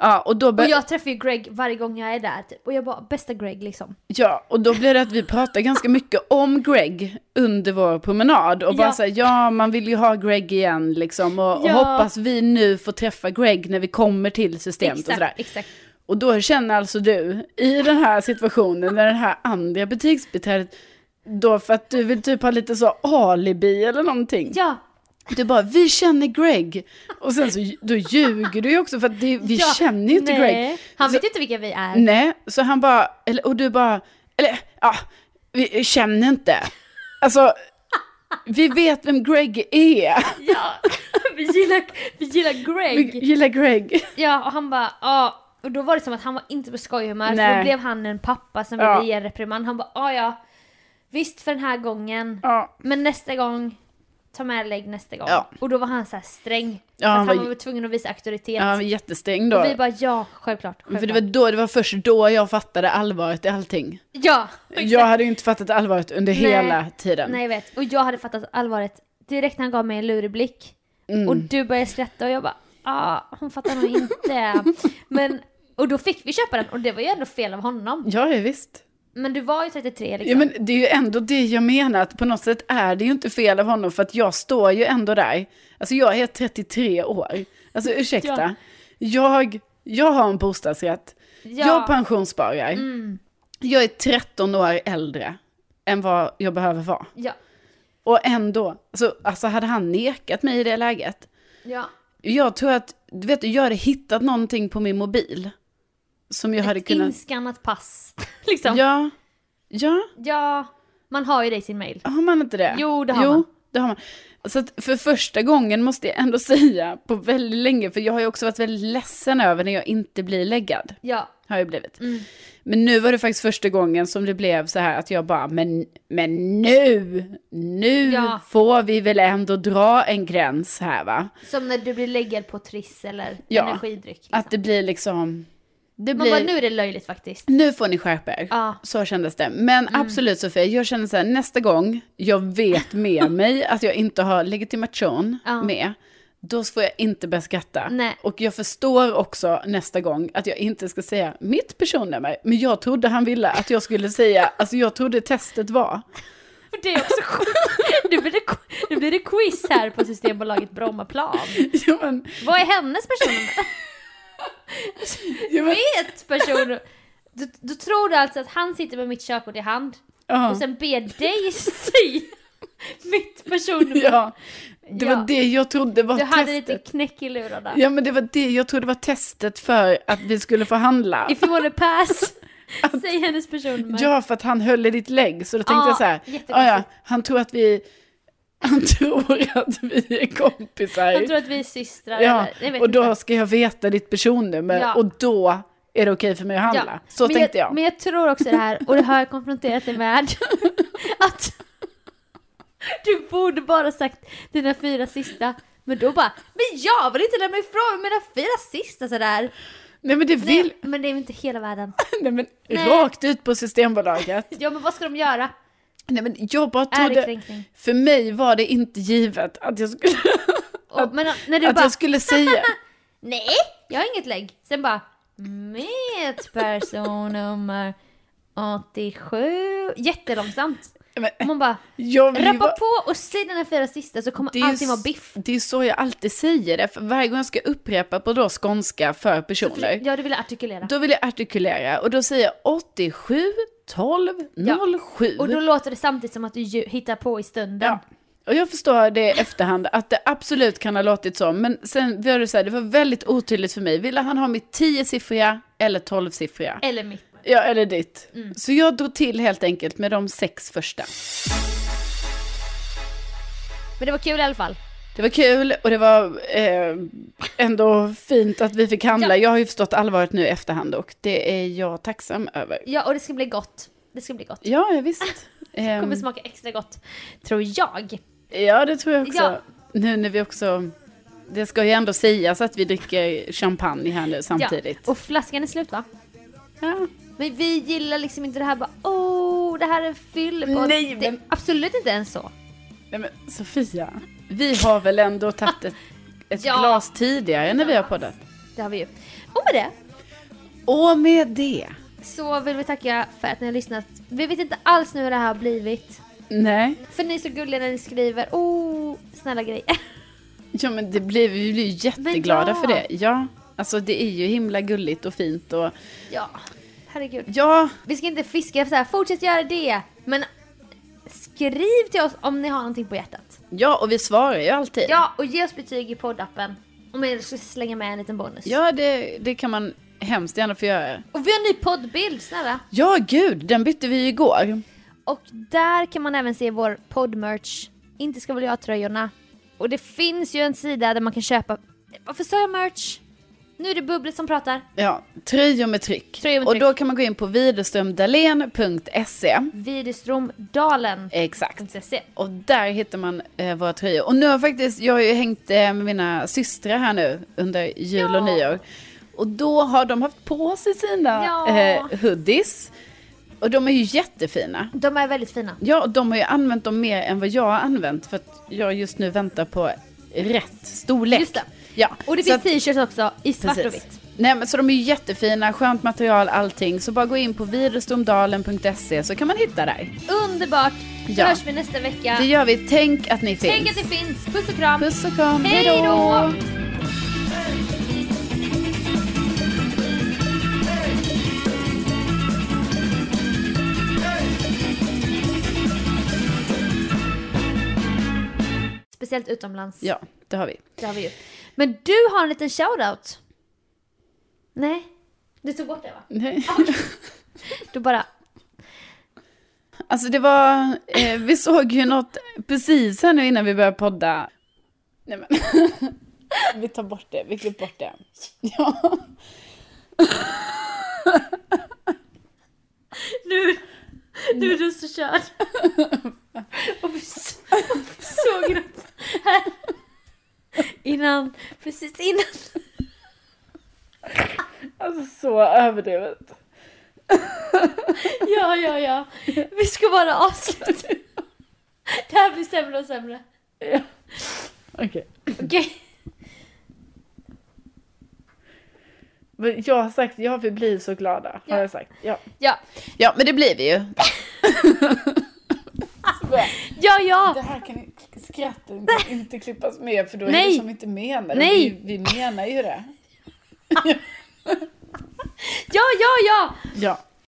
A: ja, och då
B: Och
A: bör-
B: jag träffar ju Greg varje gång jag är där. Typ. Och jag bara, bästa Greg liksom.
A: ja, och då blev det att vi pratade ganska mycket om Greg under vår promenad och bara
B: Ja.
A: såhär, ja man vill ju ha Greg igen liksom och, och
B: Ja.
A: hoppas vi nu får träffa Greg när vi kommer till systemet och sådär.
B: Exakt, exakt.
A: Och då känner alltså du, i den här situationen, när den här andra butiksbiträdet, då för att du vill typ ha lite så alibi eller någonting.
B: Ja,
A: Du bara, vi känner Greg. Och sen så då ljuger du ju också för att det, vi
B: ja.
A: känner ju inte
B: nej.
A: Greg.
B: Han
A: Så-
B: vet ju inte vilka vi är.
A: Nej, så han bara, eller, och du bara, eller ja, vi känner inte. Alltså, vi vet vem Greg är.
B: Ja, vi gillar, vi gillar
A: Vi
B: Greg.
A: gillar Greg.
B: Ja, och han bara ja. Och då var det som att han var inte på skojhumör, för
A: Nej.
B: då blev han en pappa som
A: Ja.
B: ville ge en reprimand. Han bara ja, ja. Visst för den här gången,
A: Ja,
B: men nästa gång, ta med lägg nästa gång.
A: Ja.
B: Och då var han så här sträng.
A: Ja,
B: för
A: han
B: att han
A: var-
B: var, tvungen att visa auktoritet.
A: ja han var jättestängd
B: och
A: då.
B: vi bara ja, självklart. självklart.
A: För det var, då, det var först då jag fattade allvaret i allting.
B: Ja,
A: Jag hade ju inte fattat allvaret under
B: Nej.
A: hela tiden.
B: Nej jag vet. Och jag hade fattat allvaret direkt när han gav mig en lurig blick.
A: Mm.
B: Och du började skratta och jag bara ah, hon fattar nog inte. Men, och då fick vi köpa den och det var ju ändå fel av honom.
A: Ja, ja, visst.
B: Men du var ju 33 liksom.
A: Ja, men det är ju ändå det jag menar, att på något sätt är det ju inte fel av honom, för att jag står ju ändå där. Alltså jag är 33 år. Alltså ursäkta. Jag, jag har en bostadsrätt.
B: Ja. Mm.
A: Jag pensionssparar. Jag är 13 år äldre än vad jag behöver vara.
B: ja.
A: Och ändå, alltså, alltså hade han nekat mig i det läget,
B: ja.
A: jag tror att, du vet, jag hade hittat någonting på min mobil. Som jag hade
B: Ett
A: kunnat...
B: inskannat pass. liksom. Ja.
A: Ja, ja,
B: Man har ju det i sin mail.
A: har man inte det?
B: Jo, det har
A: jo,
B: man.
A: Det har man. Så att för första gången måste jag ändå säga, på väldigt länge, för jag har ju också varit väldigt ledsen över när jag inte blir läggad.
B: Ja.
A: Har jag blivit.
B: Mm.
A: Men nu var det faktiskt första gången som det blev så här att jag bara, men, men nu, nu
B: Ja.
A: får vi väl ändå dra en gräns här va?
B: Som när du blir läggad på Triss eller
A: Ja.
B: energidryck. Liksom.
A: Att det blir liksom, det
B: Man
A: blir...
B: bara nu är det löjligt faktiskt.
A: Nu får ni skärpa er.
B: Ja. Mm.
A: Så kändes det. Men absolut Sofia, jag känner så här, nästa gång jag vet med mig att jag inte har legitimation
B: Ja.
A: med, då får jag inte börja skratta.
B: Nej.
A: Och jag förstår också nästa gång att jag inte ska säga mitt personnummer. Men jag trodde han ville att jag skulle säga, alltså jag trodde testet var.
B: För det är också sjukt. Nu blir, det, nu blir det quiz här på Systembolaget Brommaplan.
A: Ja, men,
B: Vad är hennes personnummer?
A: ja, men,
B: vet person... Du, du tror du alltså att han sitter med mitt körkort i hand
A: ja.
B: och sen ber dig säga mitt personnummer?
A: ja. Det var
B: Ja.
A: det jag trodde var
B: Du
A: testet.
B: hade lite knäck i lurarna.
A: Ja men det var det jag trodde var testet för att vi skulle få handla.
B: If you wanna pass, säg hennes personnummer.
A: Ja, för att han höll i ditt lägg. Så då tänkte
B: Ja,
A: jag så här,
B: jättekonstigt.
A: "Ah, ja, han tror att vi, han tror att vi är kompisar.
B: Han tror att vi är systrar
A: ja,
B: eller... Jag vet
A: och då
B: inte.
A: ska jag veta ditt personnummer
B: Ja.
A: och då är det okej för mig att
B: Ja.
A: handla. Så
B: men
A: tänkte jag.
B: Men jag tror också det här, och det har jag konfronterat dig med, att du borde borde bara sagt dina fyra sista. Men då bara, men jag vill inte lämna ifrån mig mina fyra sista sådär.
A: Nej men det vill...
B: Nej, men det är ju inte hela världen.
A: Nej men
B: Nej.
A: rakt ut på Systembolaget.
B: Ja men vad ska de göra?
A: Nej men jag bara
B: Är det
A: trodde...
B: kränkning?
A: För mig var det inte givet att jag skulle,
B: Och, men när du
A: att
B: bara,
A: jag skulle säga...
B: nej, jag har inget lägg. Sen bara, mitt personnummer 87. Jättelångsamt.
A: Men,
B: Och man bara,
A: jag vill ju
B: rappa
A: vara...
B: på och säg dina fyra sista så kommer
A: Det är ju
B: allting vara
A: s-
B: biff.
A: Det är så jag alltid säger det, för varje gång jag ska upprepa på då skånska
B: typ-
A: för personer,
B: Ja, du ville artikulera.
A: då vill jag artikulera och då säger jag 87 12 07.
B: Och då låter det samtidigt som att du ju- hittar på i stunden.
A: Ja. Och jag förstår det i efterhand, att det absolut kan ha låtit så. Men sen var det så här, det var väldigt otydligt för mig. Ville han ha mitt 10-siffriga eller 12-siffriga?
B: Eller mitt.
A: Ja, eller ditt.
B: Mm.
A: Så jag drog till helt enkelt med de sex första.
B: Men det var kul i alla fall.
A: Det var kul och det var eh, ändå fint att vi fick handla. Jag har ju förstått allvaret nu i efterhand och det är jag tacksam över.
B: Ja, och det ska bli gott. Det ska bli gott.
A: Ja, ja, visst.
B: Det kommer
A: Ehm,
B: smaka extra gott, tror jag.
A: ja, det tror jag också.
B: Ja.
A: Nu när vi också... Det ska ju ändå sägas att vi dricker champagne här nu samtidigt.
B: Ja. Och flaskan är slut va?
A: Ja.
B: Men vi gillar liksom inte det här bara åh, det här är en fyllebåt.
A: Nej,
B: Det är
A: men-
B: absolut inte ens så.
A: Nej men Sofia, vi har väl ändå tagit ett, ett
B: Ja.
A: glas tidigare när vi har poddat?
B: Det har vi ju. Och med det
A: Och med det.
B: så vill vi tacka för att ni har lyssnat. Vi vet inte alls nu hur det här har blivit.
A: Nej,
B: För ni är så gulliga när ni skriver åh, snälla grejer.
A: ja men det blir, vi blir ju jätteglada
B: ja.
A: för det. Ja, alltså det är ju himla gulligt och fint och
B: ja, herregud.
A: ja,
B: Vi ska inte fiska efter så här, fortsätt göra det. Men skriv till oss om ni har någonting på hjärtat.
A: ja och vi svarar ju alltid.
B: Ja, och ge oss betyg i poddappen. Om jag ska slänga med en liten bonus.
A: ja det, det kan man hemskt gärna få göra.
B: Och vi har en ny poddbild, snälla.
A: Ja gud, den bytte vi ju igår.
B: Och där kan man även se vår poddmerch. Inte ska väl jag ha tröjorna. Och det finns ju en sida där man kan köpa... Varför sa jag merch? Nu är det Bubblet som pratar.
A: Ja, tröjor med tryck.
B: Tröjor med
A: och
B: tryck.
A: då kan man gå in på widerströmdalen.se.
B: Widerstromdalen.
A: E. Exakt.
B: .se.
A: Och där hittar man eh, våra tröjor. Och nu har faktiskt, jag har ju hängt eh, med mina systrar här nu under jul
B: Ja.
A: och nyår. Och då har de haft på sig sina
B: Ja.
A: eh, hoodies. Och de är ju jättefina.
B: De är väldigt fina.
A: Ja, och de har ju använt dem mer än vad jag har använt. För att jag just nu väntar på rätt storlek.
B: Just det.
A: Ja.
B: Och det
A: så
B: finns
A: att-
B: t-shirts också i svart och
A: Precis.
B: vitt.
A: Nej, men så de är ju jättefina, skönt material, allting. Så bara gå in på virestomdalen.se så kan man hitta där.
B: Underbart!
A: Ja.
B: Ja. hörs vi nästa vecka.
A: Det gör vi. Tänk att ni finns.
B: Tänk att det finns. Puss och kram.
A: Puss och kram.
B: Hej
A: Hej då!
B: då! Speciellt utomlands.
A: Ja, det har vi.
B: Det har vi ju. Men du har en liten shoutout. Nej, du tog bort det va?
A: Nej.
B: Du bara...
A: Alltså det var, eh, vi såg ju något precis här nu innan vi började podda. Nej men. Vi tar bort det, vi klipper bort det. Ja.
B: Nu, nu är du så körd. Och vi så- och vi såg något här. Innan, precis innan.
A: Alltså så överdrivet.
B: Ja, ja, ja. Vi ska bara avsluta. Det här blir sämre och sämre.
A: Ja. Okej.
B: Okej.
A: Men jag har sagt, ja vi blir så glada. Har
B: Ja.
A: jag sagt. Ja.
B: Ja.
A: ja, men det blir vi ju.
B: ja, ja.
A: Det här kan inte- skratten kan inte klippas med för då är det
B: Nej.
A: som inte menar.
B: Nej.
A: Vi, vi menar ju det.
B: Ja, ja, ja.
A: Ja.